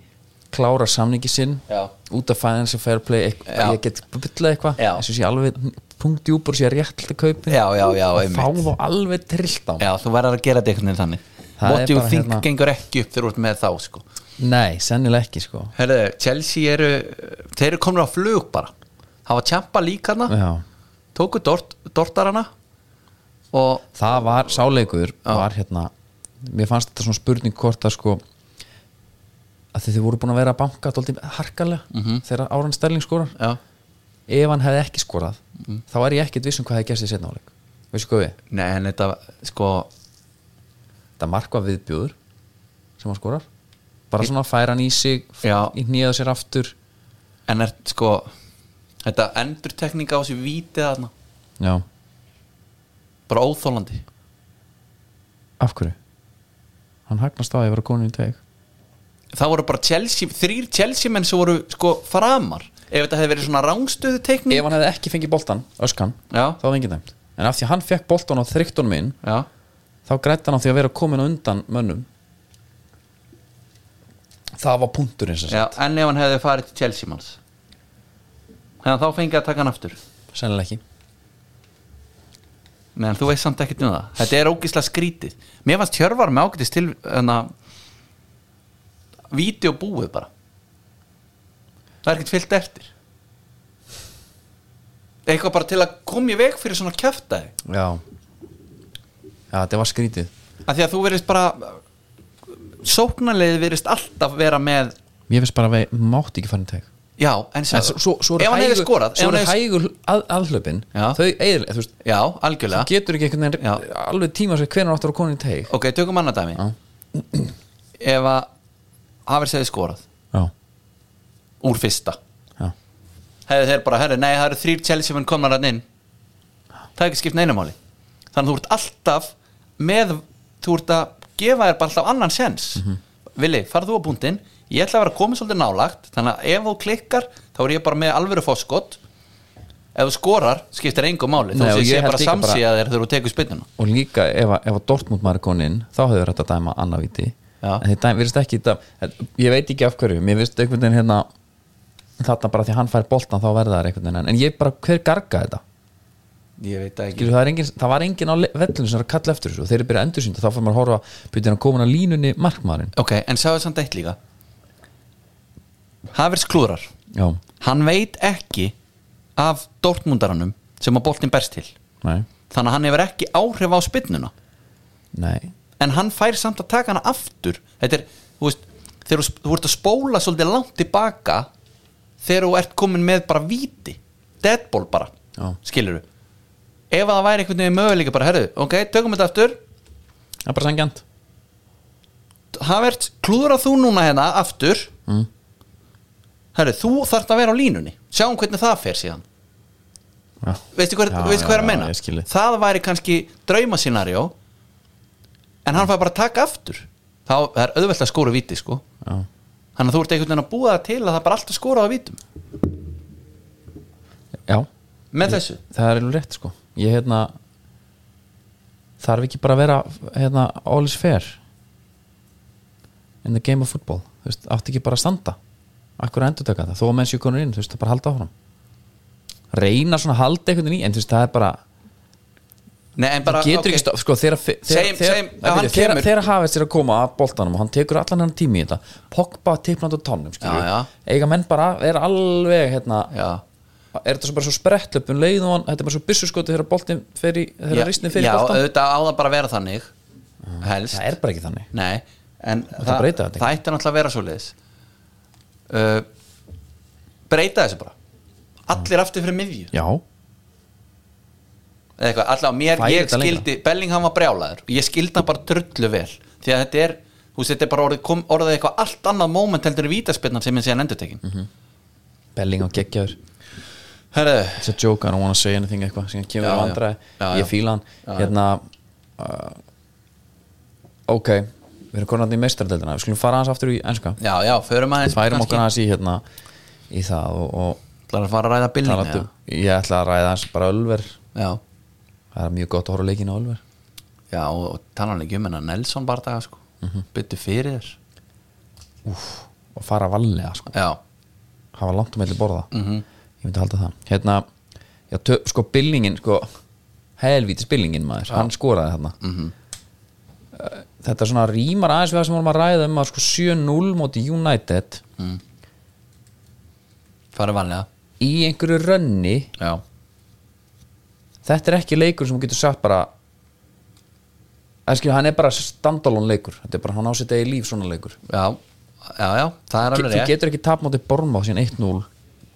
klárar samningi sinn
Já.
út af financial fair play eitth-
Já.
ég get byllað eitthvað
Já.
þess að ég alveg punktjúpur sé rétt til kaupin
Já, já, já,
og fá
einmitt.
þá alveg trillt á
Já, þú verður að gera þetta einhvern veginn þannig
Það er
What do you
bara
think
hérna-
gengur ekki upp þegar þú ert með þá sko
Nei, sennilega ekki sko
Herðu, Chelsea eru Þeir eru komin á flug bara Hafa tjampa líka hana
já.
Tóku dort, dortarana Og
það var sáleikur
Já.
var hérna mér fannst þetta svona spurning hvort að sko að þið voru búin að vera að banka dálítið harkalega
Mhm.
þegar Áran Sterling skorar
Já,
ef hann hefði ekki skorað
Mhm.
þá er ég ekkit vissum hvað hefði gerst í setna áleik veistu hvað við,
nei, en þetta sko
það markva viðbjóður sem hann skorar bara svona færa hann í sig
Já.
í nýjaðu sér aftur
En er sko Þetta endurtekninga á þessu vítið þarna
já,
Bara óþólandi
af hverju hann hagnast á að ég var að konu í teg
Það voru bara Chelsea, þrýr Chelsea menn sem voru sko framar Ef þetta hefði verið svona rángstöðu
ef hann hefði ekki fengið boltan, öskan
Já.
þá hefði enginn dæmt, en af því að hann fekk boltan á þrygtunum minn
Já,
þá grætti hann á því að vera komin á undan mönnum það var punktur eins og
já, en ef hann hefði farið til Chelsea manns Þannig að þá fengið að taka hann aftur
sagt sennilega ekki
Meðan þú veist samt ekkert um það Þetta er ógislega skrítið Mér fannst hjörvar með ágætis til Þannig að Vídeobúið bara Það er ekkert fyllt eftir Eitthvað bara til að koma í veg fyrir svona kjaftaði
já, já þetta var skrítið
Af því að þú verðist bara Sóknarleiði verðist alltaf vera með
mér finnst bara að við mátti ekki fara í teg
Já, en,
en svo, svo, svo
Ef hann hefði skorað ef
svo
hann
er
hefði-
hægur að, aðhlöpin
Já.
þau eðilega, þú veist
Já, algjörlega
getur ekki einhvern
Já.
veginn alveg tíma sér hvernig áttur að konu í teg
Ok, tökum annað dæmi
Já.
Ef að Hafers hefði skorað
já,
Úr fyrsta
já,
hefði þeir bara, herri, nei, það eru þrýr Chelsea menn komnar hann inn það er ekki skipt neinumáli þannig að þú ert alltaf með, þú ert að gefa þér bara alltaf annan sens
Mhm.
Vili, farð þú á búndin ég ætla að vera komin svolítið nálagt þannig að ef þú klikkar, þá er ég bara með alvöru fóskott ef þú skorar, skiptir engu máli þá
Nei, og
sé
ég
ég
held
bara
líka bara-
samsíða þér þegar þú tekur spinnuna
og líka ef, að- ef að Dortmund maður er komin inn þá hefur þetta dæma annað viti
Já.
en þetta virðist ekki þetta, þetta- ég veit ekki af hverju, mér virðist einhvern veginn hérna þarna bara því að hann fær boltan þá verða það einhvern veginn en ég bara, hver garga þetta
ég veit það
Skilur, það, er engin, það var engin á le- vellinu sem er að kalla eftir þessu og þeir eru byrjað endursýnda, þá fór maður að horfa byrjað hann komin að línunni markmaðurinn
ok, en sagði samt eitt líka Havers klúrar
já,
hann veit ekki af Dortmundaranum sem að boltin berst til
nei,
þannig að hann hefur ekki áhrif á spinnuna
nei
en hann fær samt að taka hana aftur þetta er, þú veist þegar þú, þú ert að spóla svolítið langt tilbaka þegar þú ert komin með bara víti deadball bara,
Já.
skilur du ef að það væri einhvern veginn möguleika bara, herðu, ok, tökum þetta aftur
það er bara sangjant
Havert, klúður að þú núna hérna aftur mm. herðu, þú þarft að vera á línunni sjáum hvernig það fer síðan
já.
veistu hvað,
Já,
veistu
já,
hvað er að
já,
meina
ég skil þig.
það væri kannski draumascenario en hann fær bara að taka aftur þá það er auðvelt að skóra víti sko
Já.
þannig að þú ert einhvern veginn að búa það til að það er bara alltaf skóra á vítum
já,
með þessu
það er alveg rétt sko ég hérna þarf ekki bara að vera hérna, all is fair in the game of football þú veist, átti ekki bara að standa akkur að endur taka það, þó að menn séu konur inn þú veist, það bara halda áfram reyna svona að halda einhvern veginn í en þú veist, það er bara
Nei, en bara,
Þú getur
ok,
ekki stopp sko, þegar, þegar,
Segjum-
þegar,
segjum að
þegar,
hann
þegar, þegar,
kemur.
þegar hafið sér að koma að boltanum og hann tekur allan hann tími í þetta Pogba tipnandi á tánum skilur
Já, já.
eiga menn bara er alveg hérna,
já,
er þetta svo bara svo sprettlöpun leið og hann, þetta er bara svo byssuskoti þegar boltin fer í,
já,
þegar ristin fer í
já
boltan
auðvitað á það bara að vera þannig
Mm.
helst
það er bara ekki þannig
Nei, en það,
breyta þetta
það ætti náttúrulega að vera svo leiðis uh, breyta þessu bara allir aftur fyrir miðju
Já,
eða eitthvað, allavega mér,
Færi
ég
þetta lengra.
skildi Bellingham var brjálaður og ég skildi hann bara drullu vel því að þetta er, þú veist, þetta er bara orðið, kom, orðið eitthvað allt annað moment heldur í vítaspinnan sem er síðan endurtekin
Mhm.
mm -hmm.
Belling á geggjaður
Herðu,
It's a joke, I don't wanna say anything eitthvað sem kemur já,
Já, já.
vandræði,
Já, já.
ég fíla hann hérna uh, ok, við erum konar í meistardeldina, við skulum fara aðeins aftur í enska,
já, já, förum aðeins
færum
kannski-
okkur aðeins í hérna í það og, og
Ætlarðu að fara að ræða billing
talandi, ég ætla að ræða aðeins bara Ölver,
já,
það er mjög gott að horfa á leikinu á Ölver
já, og, og talan ekki um hennar Nelson bardaga, sko, mm
Mhm.
fyrir þér
og fara vallega, sko,
já,
hafa langt um melli borða
Mhm.
ég myndi halda það hérna, já, tö, sko billingin sko, helvítis billingin maður hann skoraði þarna
Mhm.
-hmm. þetta svona rýmar aðeins við það sem vorum að ræða um að sko 7-0 móti United
farið vanlega
í einhverju rönni
já,
þetta er ekki leikur sem þú getur sagt bara að skilja, hann er bara standalón leikur þetta er bara hann á sitt eigi líf svona leikur
já, já, já, það er
Ge-
alveg
þú
rétt
getur ekki tap móti Borma síðan 1-0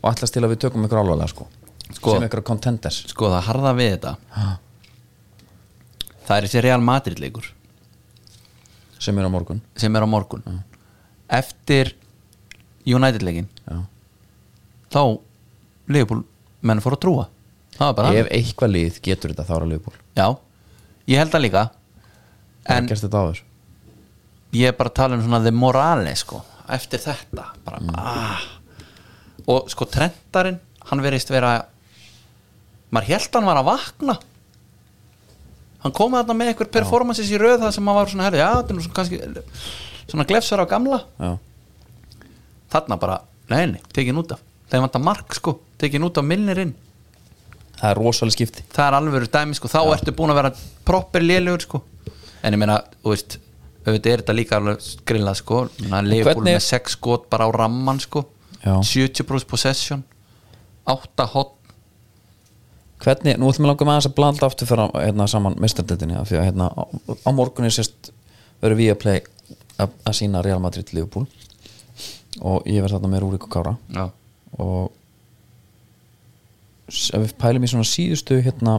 og allast til að við tökum ykkur alvarlega sko,
Sko.
sem ykkur contenders
sko, það harða við þetta það er þessi Real Madrid leikur
sem eru á morgun
sem er á morgun eftir United leikin
já
þá Leopold menn fór að trúa það var bara
ef eitthvað lið getur þetta þá er að Liverpool
það. já, ég held það líka
Það
en
en, gerst þetta áður
ég er bara að tala um svona the morale sko, eftir þetta bara, ah. og sko trendarinn hann verist vera maður held hann var að vakna hann kom að þarna með einhver performances í röð það sem hann var svona herri, já, þetta er nú svona kannski svona glefsar á gamla
já.
þarna bara, neini, tekin út af þegar vantar mark sko, tekin út af milnirinn
það er rosalega skipti
það er alveg dæmi sko, þá ertu búin að vera proper lélugur sko en ég meina, þú veist, auðvitað er þetta líka alveg grillað sko, hann leiður búin
hvernig-
með 6 skot bara á ramman sko
Já.
70% possession 8 hot
hvernig, nú ætlum við langa með aðeins að blanda aftur fyrir að, hérna, saman mestardöldinni af því að hérna, á, á morgunni sérst verður við að play að, að sína Real Madrid Liverpool og ég verð þarna með Rúrik og Kára
já,
og s- ef við pælum í svona síðustu hérna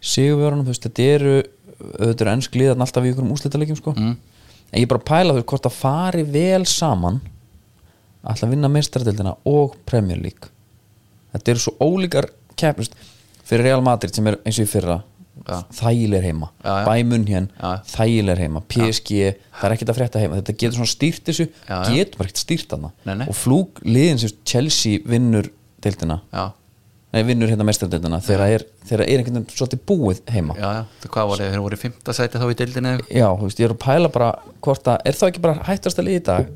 sigurverunum, þú veist, þetta eru auðvitað eru ennsk liðan alltaf í ykkur um úrslitaleikjum sko,
Mm.
en ég er bara að pæla þau hvort það fari vel saman ætla að vinna meistaradeildina og Premier League þetta eru svo ólíkar keppnust fyrir Real Madrid sem er eins og í fyrra
Já.
þægileg heima,
Já, já.
bæmun hér
Já.
þægileg heima, PSG það er ekkert að frétta heima, þetta getur svona stýrt þessu
Já, já.
getur bara ekkert stýrt
Nei,
hana
nei.
og flúk liðin sem Chelsea vinnur deildina,
já,
nei vinnur hérna mestardeildina þegar það er, þegar það er einhvern veginn svolítið búið heima
já, já, það hvað voru, þeir voru í 5. sæti þá í deildinni eða-
Já, þú veist, ég er að pæla bara hvort að, er það ekki bara hættast að liði í dag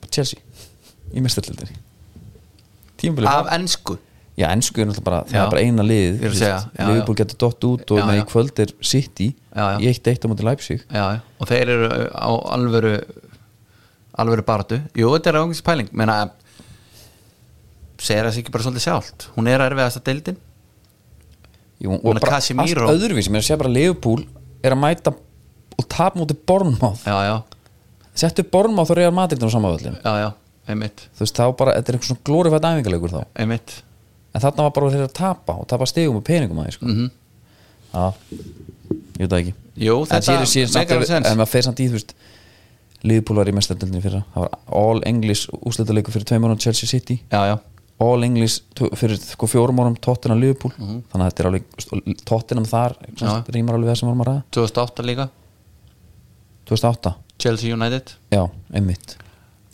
Bara Chelsea í mestardeildinni tímabilið
af ennsku
já, ennsku er náttúrulega bara, það
Já.
er bara eina lið
Ég er að segja, já, já.
Liverpool getur dott út og
Já,
með
já.
í kvöld er City
Já, já.
í eitt eitt á móti Leipzig
já, já, og þeir eru á alvöru alvöru baratu jú, þetta er ángis pæling meina, segir það sig ekki bara svolítið sjálft hún er erfiðasta deildin
Jú,
Meina,
og bara
Casemiro.
allt öðruvísi mér sé bara Leopold er að mæta og tap múti Bornmáð
já, já,
settu Bornmáð og Real Madrid á samavöldin
já, já, einmitt
þú veist þá bara, þetta er einhver svona glorifætt æfingarleikur þá
einmitt
en þarna var bara þeir að tapa og tapa stegum og peningum aðeins sko. mm
Mhm.
já, ég veit það ekki
Jú, þetta
en síðan, síðan samt
megar
ef-
sens.
ef maður fer samt í þú veist Liverpool var í mestendöldinni fyrra það var All English úsletaleikur fyrir tveim árum Chelsea City
já, já,
All English tvo- fyrir sko, fjórum árum Tottenham Liverpool þannig að þetta er alveg Tottenham þar
Mhm. Já.
semst, rýmar alveg við það sem vorum að ræða
2008 líka
2008
Chelsea United
Já, einmitt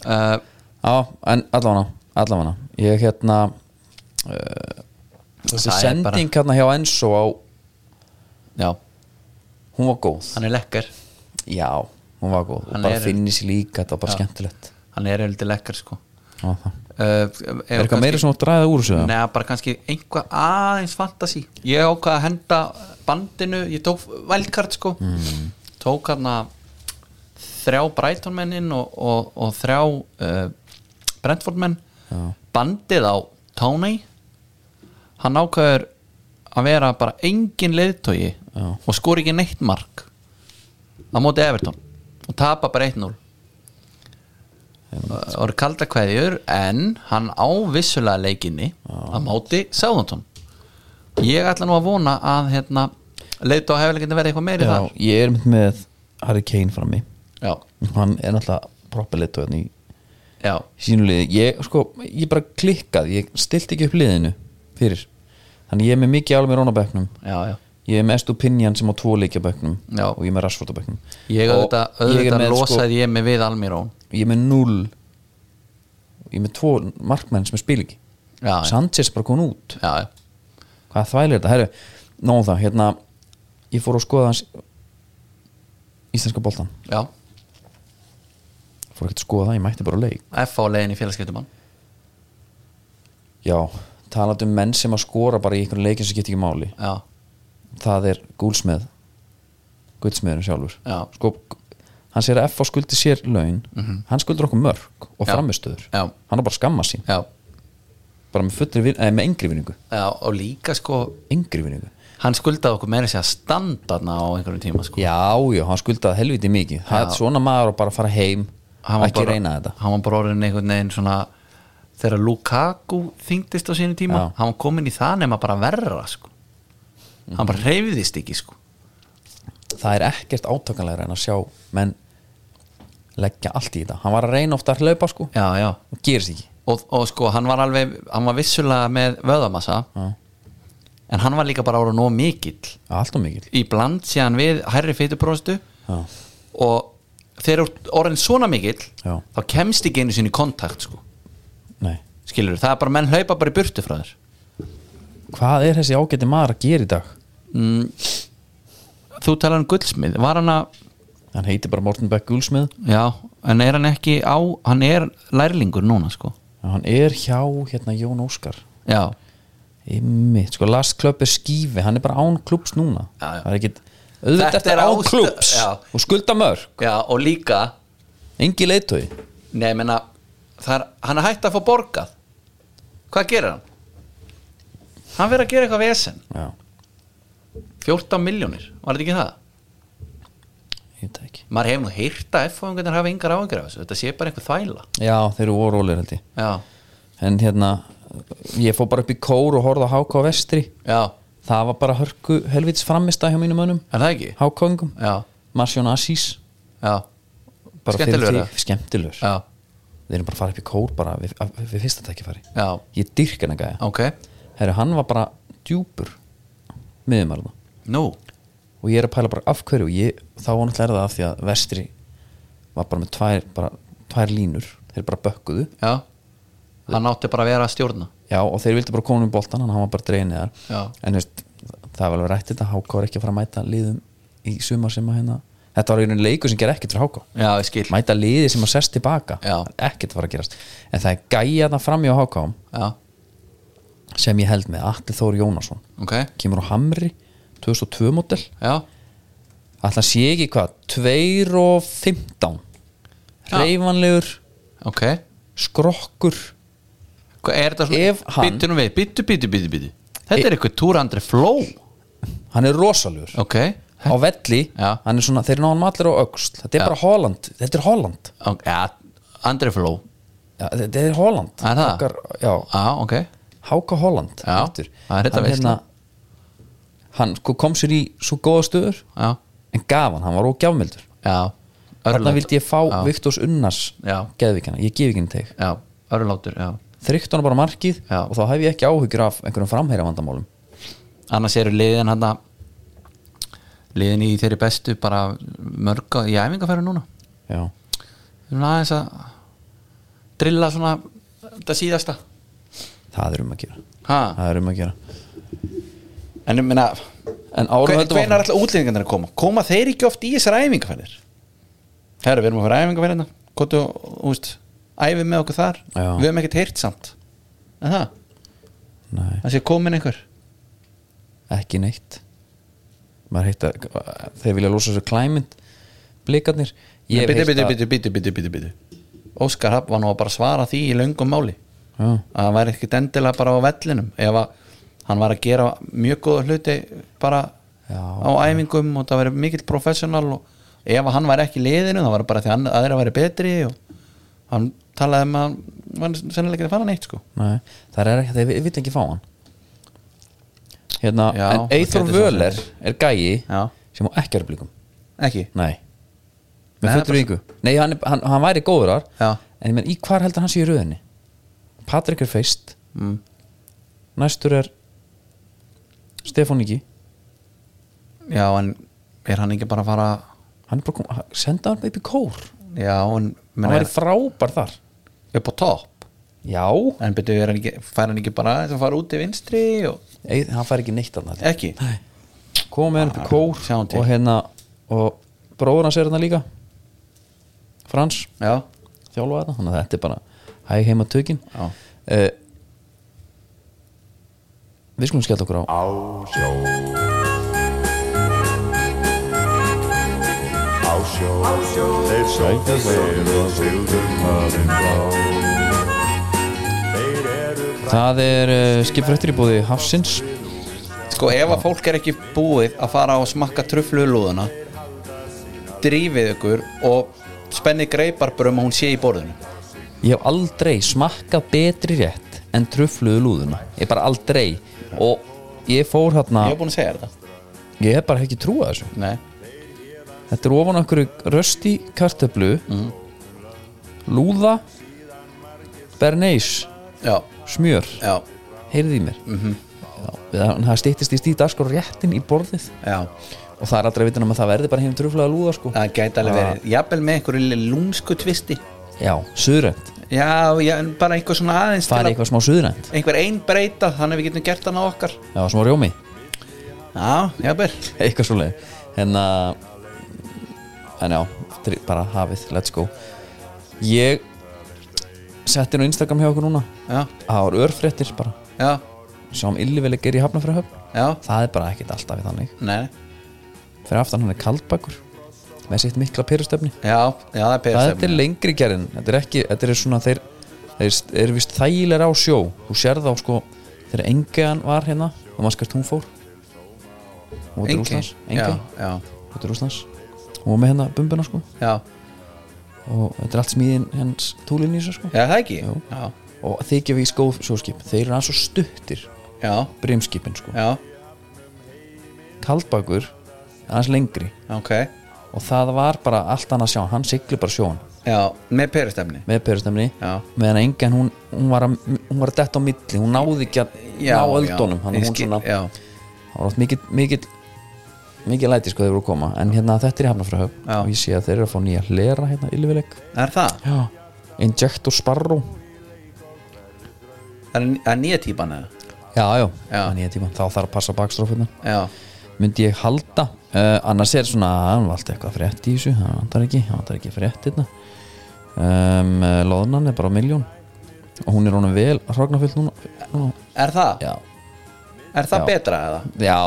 uh,
Já, en allavega, allavega Ég hérna uh, Þessi
Það er
sending hérna hjá Enso á,
já,
Hún var góð
hann er lekkar
Já, hún var góð
Hann
Og bara
er-
finnis líka, þetta var bara skemmtilegt
hann er eitthvað lekkar sko
Já, það
uh,
Er eitthvað meira svona að draga úr þessu?
Nei, bara kannski einhvað aðeins fantasi Ég ákvað að henda bandinu Ég tók velkart sko
Mm.
Tók hérna þrjá Brighton mennin og, og, og þrjá uh, Brentford menn
Já.
Bandið á Tony Hann ákvaður að vera bara engin leiðtogi
Já.
og skori ekki neitt mark á móti Everton og tapa bara 1-0 Það voru kalda kveðjur en hann á vissulega leikinni á móti Sáðantón ég ætla nú að vona að hérna, leita á hefðilegindi verði eitthvað meiri
Já,
þar
ég er mynd með Harry Kane frammi
já,
hann er náttúrulega proppileitt og í
já,
sínu liði ég, sko, ég bara klikkað, ég stilti ekki upp liðinu fyrir þannig ég er með mikið álum í Rónabæknum
já, já.
ég er með Estupinjan sem á tvo leikjabæknum
Já.
og ég er með Rashford á bæknum
ég
Og
auðvitað,
ég er
auðvitað
með, sko,
losaði ég mig við Almirón
ég er með null ég er með tvo markmenn sem er spil ekki
já, já,
Sanchez er bara kom út
já, já,
hvað þvælir þetta, herru, nóðum það hérna, ég fór að skoða hans íslenska boltan
já.
fór ekki að skoða það, ég mætti bara á leik
F.A. leiðin í félagskiptumann
Já, talandi um menn sem að skora bara í einhverjum leikin sem getur ekki máli
já,
það er gúlsmeð guldsmeðurinn sjálfur
Já.
sko, hann sér að F á skuldi sér laun hann skuldur okkur mörg og
Mhm. Já.
framistöður
Já.
hann er bara að skamma sín
já,
bara með, fullri vin, eða, með engri vinningu
já og líka sko
engri vinningu
hann skuldaði okkur meira sér að standarna á einhverjum tíma sko
Já, já, hann skuldaði helviti mikið það er svona maður að bara fara heim
Hann var
ekki reyna þetta
hann var bara orðin einhvern veginn svona þegar Lukaku þyngdist á sínu tíma
Já.
hann var komin í það nema bara verra sko. hann bara reyfiðist ekki sko.
það er ekkert átakanlega en að sjá menn leggja allt í þetta hann var að reyna ofta að hlaupa sko
já, já.
og gerist ekki
Og, og sko hann var alveg hann var vissulega með vöðamassa
Já.
en hann var líka bara orðin nóg mikill
alltaf mikið
í bland síðan við hærri feitupróstu
Já.
og þegar þú ert orðin svona mikill
Já.
þá kemst ekki einu sinni í kontakt sko.
Nei
skilur það er bara menn hlaupa bara í burtu frá þér
hvað er þessi ágæti maður að gera í dag
mm, þú talar um guldsmið var hann að
hann heitir bara Morten Beck Gulsmið
Já, en er hann ekki á hann er lærlingur núna sko
hann er hjá hérna Jón Óskar
Já,
ymmið, sko Last Club er skífi hann er bara án klubs núna
Já, já.
það er ekkit, auðvitað
Þetta
þetta
er
er án
ástæ-
klubs
Já.
og skulda mörg,
já og líka
engi leitói
Nei, ég meina, það er, hann er hægt að fá borgað Hvað gerir hann? Hann verður að gera eitthvað vesen
já,
14 miljónir, var þetta ekki það?
ég veit það ekki
Maður hefur nú heyrt að F-fóðingarnir hafa yngar áhengjur af þessu Þetta sé bara einhver þvæla
já, þeir eru órólir held ég
Já,
en hérna, ég fór bara upp í kór og horfði á HK Vestri
já,
það var bara hörku helvits framista hjá mínum önum
er það ekki?
HK-ingum,
Já,
Marcion Assis
já,
bara
Skemmtilegur,
fyrir
eða?
því, skemmtilegur
já,
við erum bara að fara upp í kór bara við, af- við fyrsta tækifæri
já,
ég dyrk hann að gæja
ok
Herru, hann var bara djúpur miðumarna
Nú,
og ég er að pæla bara af hverju og ég, þá var náttúrulega er það af því að vestri var bara með tvær, bara, tvær línur þeir bara bökkuðu
já Hann átti bara að vera að stjórna
já, og þeir vildi bara koma um boltan hann hann var bara dregin neðar
Já.
en þú veist, það var alveg rætt þetta Háká er ekki að fara að mæta liðum í sumar sem að hérna þetta var einhvern leiku sem ger ekkert fyrir Háká
Já, ég skil
mæta liði sem að sest tilbaka
Já.
Það er ekkert að fara að gerast en það er gæja það framjá Háká
Já,
sem ég held með Atli Þór Jónasson
ok,
kemur á Hamri 2002 model
já
Alltaf sé ekki hvað 2 og 15
Já.
Reifanlegur
Ok,
Skrokkur
hvað er þetta svona
Ef hann-
Býttu nú við, býttu, býttu, býttu, býttu Þetta er eitthvað Túr Andri Flow
Hann er rosalegur
Ok,
Á velli
Já.
Hann er svona Þeir ná hann allir á öxl Þetta er
Já.
bara Holland Þetta er Holland
ok, ja, Andri Flow
ja, Þetta er Holland
Er það?
Okkar, Já
Já, ok
Háka Holland
Já.
aftur.
Það er þetta
Hann hérna,
veisla.
Hann sko kom sér í Svo góða stöður
Já,
En gaf hann Hann var ógjafmildur
já
Þarna
Örlát-
vildi ég fá
Já.
Viktors Unnars
Já.
Geðvíkjana Ég gef ekki henni teg
Já, örlátur, já
Þrykt hann bara markið
Já.
Og þá hef ég ekki áhyggjur af Einhverjum framherja vandamálum
Annars eru liðin hann Liðin í þeirri bestu bara mörg á- í æfingafæru núna
Já
Við erum aðeins að drilla svona þetta síðasta
það er um að gera
Ha,
það er um að gera
en ég meina
en árum höldum
Hvernig er
áfram
alltaf útlendingarnir að koma? Koma þeir ekki oft í þessar æfingafælir? Herra, við erum að fara æfingafælina Kottu, úst, æfið með okkur þar
Já.
Við höfum ekkert heyrt samt En það,
Nei,
það sé komin einhver
ekki neitt maður heitt að þeir vilja lósa þessu klæmynd blikarnir
Nei,
ég
Bitu, bitu, bitu, bitu, bitu, bitu, bitu Óskar Happ var nú að bara svara því í löngum máli
Já.
Að hann væri ekkert endilega bara á vellinum Ef að hann var að gera mjög góða hluti Bara
Já.
á æfingum Og það væri mikill professional og Ef að hann væri ekki í liðinu, það var bara því að aðra væri betri og hann talaði um að hann var sennilega ekki að fara neitt sko
Nei, það er ekki, þeir vil ekki fá hann Hérna,
Já,
en
það
Eithor
gæti svo
Völer er gæi
Já.
sem á ekki að blikum
ekki,
Nei,
Nei,
með
hann er
fullu
bara-
yngu Nei, hann, er- hann, hann væri góður þar
Já.
En ég menn, í hvar heldur hann sé í röðinni? Patrik er feist
Mm.
Næstur er Stefán Ingi
já en er hann ekki bara að fara
Hann er bara kom, hann- senda hann bara upp í kór
já, en menn
Hann
er
væri frábær þar
upp á topp
Já,
en betur er hann ekki, fær hann ekki bara að fara út í vinstri og
Eith, hann fær ekki neitt þarna
ekki
Komum með hann upp í kór
Sjáum til.
Og hérna, og bróður hans er hérna líka Frans
já,
þjálfa þetta þannig að þetta er bara hæg heima tökin
Já.
uh, við skulum skella okkur á á sjó Það er uh, skipfrættir í bóði Hafsins
sko ef að fólk er ekki búið að fara og smakka truflulúðuna drífið ykkur og spenni greiparbrum og hún sé í borðinu
Ég hef aldrei smakkað betri rétt en trufluðu lúðuna Ég bara aldrei og ég fór hérna
ég hef búin að segja þér þetta
ég hef bara ekki trúað þessu
Nei.
Þetta er ofan okkur rösti kartöflu Lúða Bernays
já,
Smjör,
já,
heyrðu í mér -hmm. Já, það, það stýttist í stíta sko réttin í borðið
já
og það er aldrei að vita nema að það verði bara hefum truflaða lúða sko
Það gæti alveg verið, jafnvel með einhverju lúmsku tvisti
Já, suðrænt,
Já, já, en bara einhver svona aðeins
það er
til
eitthvað smá suðrænt
að einhver ein breyta, þannig að við getum gert hann á okkar
Já, smá rjómi,
Já, jafnvel
eitthvað svo leið En að En já, tri- bara hafið, let's go Ég setti nú Instagram hjá okkur núna
Já,
Það var örfréttir bara
já,
Sjáum illivel ekki er í hafnafrahöfn
já,
það er bara ekkert alltaf í þannig
nei
fyrir aftan hann er kaldbakur með sitt mikla pyrustöfni
Já, já, það er
það þetta er
peðastefni
lengri gerðin þetta er ekki, þetta er svona þeir þeir eru vist þægilega á sjó þú sér þá sko, þegar Engean var hérna og maður skast hún fór og þetta er Rúslands
Já,
Engean,
já,
þetta er Rúslands og var með hérna bumbuna sko
já,
og þetta er allt smíðin hens túlinn í þessu sko
já, það ekki
Jú.
Já,
og þykja við í skóð sjóskip þeir eru aðeins svo stuttir
já,
brimskipin sko
já,
kaldbakur er aðeins lengri
ok
og það var bara allt annað sjá hann sigli bara sjón
Já, með peðastefni
með perustemni
Já.
meðan engan hún, hún, var að, hún var að detta á milli hún náði ekki að
Já,
ná öldunum
já,
hann
ég
hún
skil-
svona,
Já,
það var oft mikill mikill mikið læti sko þeir voru að koma en hérna þetta er í Hafnarfrahöf
Já.
og ég sé að þeir eru að fá nýja hlera hérna ylvileg
er það?
já Injector Sparrow
Það er, það er nýja típan eða?
já já,
Já.
Það er nýja tíma þá þarf að passa bakstrófuna
Já,
myndi ég halda uh, annars er svona hann valdi eitthvað frétt í þessu hann vantar ekki hann vantar ekki frétt hérna um, uh, loðnan er bara á miljón og hún er honum vel hragnafyllt núna, núna
er það?
já
Er það
Já.
betra eða?
Já,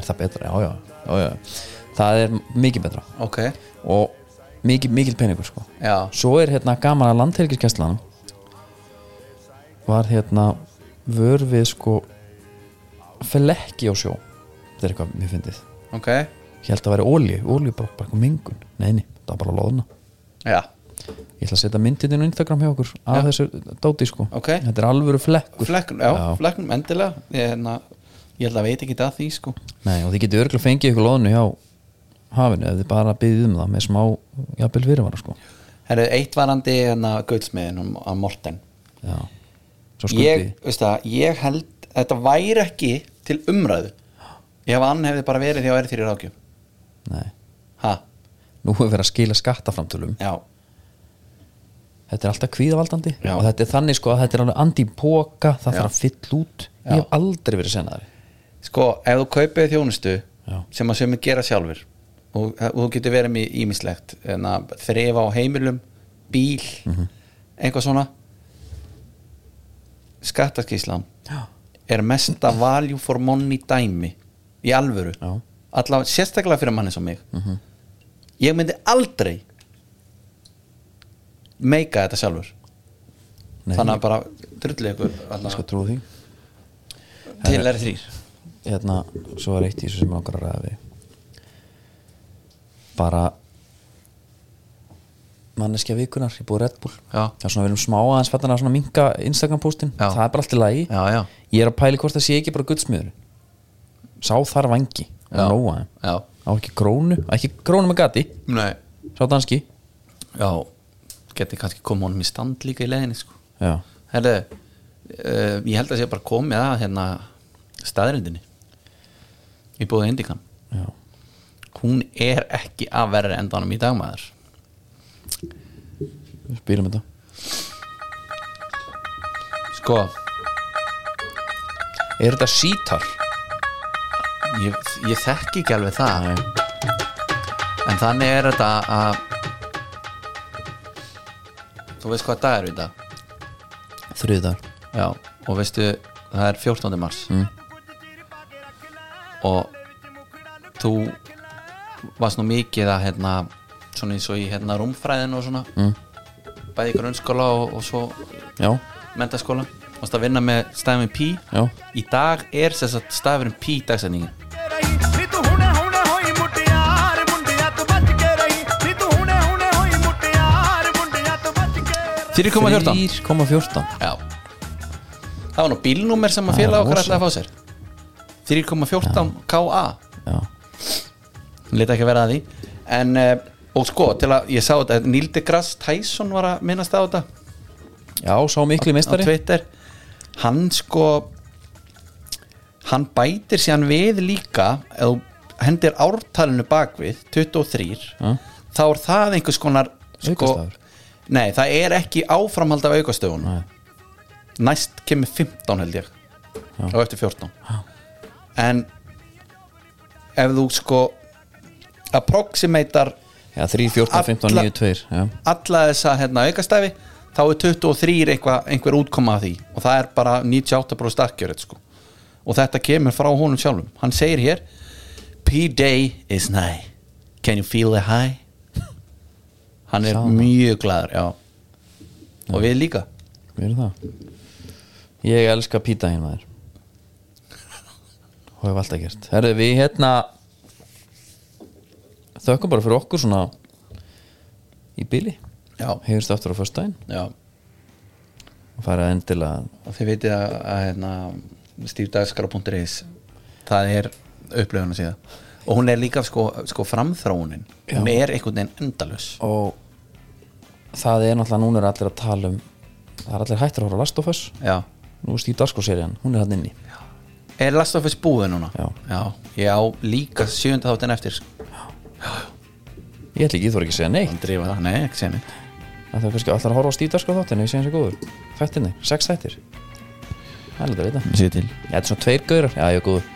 er það betra, já, já, já, já. Það er mikið betra
Ok,
og mikið, mikið peningur sko
já,
Svo er hérna gaman að landhelgiskeslan var hérna vör við sko flekki á sjó þetta er eitthvað mér fyndið
ok
Ég held að væri olíu, olíu bara, bara eitthvað mengun Nei, nei, það var bara loðna
Já,
Ég ætla að setja myndin inn á Instagram hjá okkur af þessu dóti sko
Ok.
Þetta er alvöru flekkur
flekknum, já,
Já.
flekknum endilega ég, hérna, ég held að veit ekki það því sko
Nei, og þið getur örgulega fengið ykkur loðnu hjá hafinu ef þið bara byggðum það með smá jafnvel fyrirvara sko
Herru, eitt varandi hérna guldsmiðin um, um Morten
Já, svo skuldi
ég, veist það, ég held þetta væri ekki til umræðu ef hann hefði bara verið því að verið þér í rákjum
Nei,
ha,
nú hefur verið að skila skattaframtölum
já,
Þetta er alltaf kvíðavaldandi
Já.
og þetta er þannig sko að þetta er alveg andi í póka það
Já.
þarf að fyll út
Já.
Ég hef aldrei verið senari
sko, ef þú kaupið þjónustu
Já.
sem að sömu gera sjálfur og, og þú getur verið með ímislegt þrefa á heimilum, bíl
Mhm.
eitthvað svona skattaskíslan
Já,
er mesta value for money dæmi í alvöru
Já. Mhm.
Alla, sérstaklega fyrir manni sem mig ég myndi aldrei meika þetta sjálfur
Nei, Sko,
þannig að bara drullu ykkur alla,
ég skal trú því
til er þrýr
Hérna, svo er eitt í þessu sem langar að ræða við Bara manneskja vikunar, ég búið Red Bull
Já.
það er svona við erum smá aðeins fættan að svona minka Instagram postin,
Já.
það er bara allt í lagi
já, já,
ég er að pæli hvort það sé ekki bara guldsmiður sá þar vangi
Já.
og nóa þeim,
já,
á ekki krónu ekki krónu með gati,
nei
sá danski
já, geti kannski komið honum í stand líka í leiðinni sko
já,
Herðu, uh, ég held að sé bara komið að hérna staðrindinni í búið Indikan
já,
hún er ekki að verra endanum í dagmaður
við spýrum þetta
sko,
er þetta sítar?
ég, ég þekki ekki alveg það en þannig er þetta að þú veist hvað dag er í dag
þriðar
já, og veistu það er 14. mars
Mm.
og þú varst nú mikið að hérna, svona eins og í hérna rúmfræðin og svona
Mm.
bæði í grunnskóla og, og svo
já,
mentaskóla og það vinna með stafin P
já,
í dag er sem sagt stafin P dagsetningin
Þýr
3,14
3,14
já það var nú bílnúmer sem að
Já,
félag okkar
rosa.
ætlaði að fá sér 3,14 KA
já,
leta ekki að vera að því en eh, og sko til að ég sá þetta Neil deGrasse Tyson var að minnast á þetta
já, sá miklu
á
meistari
Twitter hann sko hann bætir síðan við líka ef þú hendir ártalinu bakvið 23
Já.
þá er það einhvers konar sko,
Aukastafur.
nei það er ekki áframhald af aukastöfunum
Nei.
næst kemur 15 held ég og eftir 14 en ef þú sko approximatar
já, 3, 14, 15,
Alla-
9, 2 já,
alla þessa hérna, aukastæfi þá er 23 einhver, einhver útkoma af því og það er bara 98% starkjörð sko. og þetta kemur frá honum sjálfum hann segir hér P-day is nigh can you feel the high hann er
Sá.
mjög glaður já. og við líka
við erum það ég elska pýta hinn maður og hefur alltaf gert herru, við hérna þökkum bara fyrir okkur svona í bili
já,
hefurst aftur á föstudaginn
já.
og farið endilega
og þið veitir að, að hérna, stífdagskara.is það er upplöfuna síðan og hún er líka sko, sko framþróunin
Já.
hún er einhvern veginn endalus
og það er náttúrulega núna er allir að tala um það er allir hættir að horfa á Last of Us
já
nú er Steve Dasko serían, hún er hann inni
Er Last of Us búið núna?
Já.
Ég á líka sjönda þáttin eftir
ég ætla ekki, þú er ekki að segja nei
Hann drífa það, nei, ekki segni
að það er kannski allar að horfa á Steve Dasko þáttinu ég segja hans er góður, þættinni, sex þættir það er alveg að vita
Sér til
Já, þetta er svona tveir gaurar, já ég er góður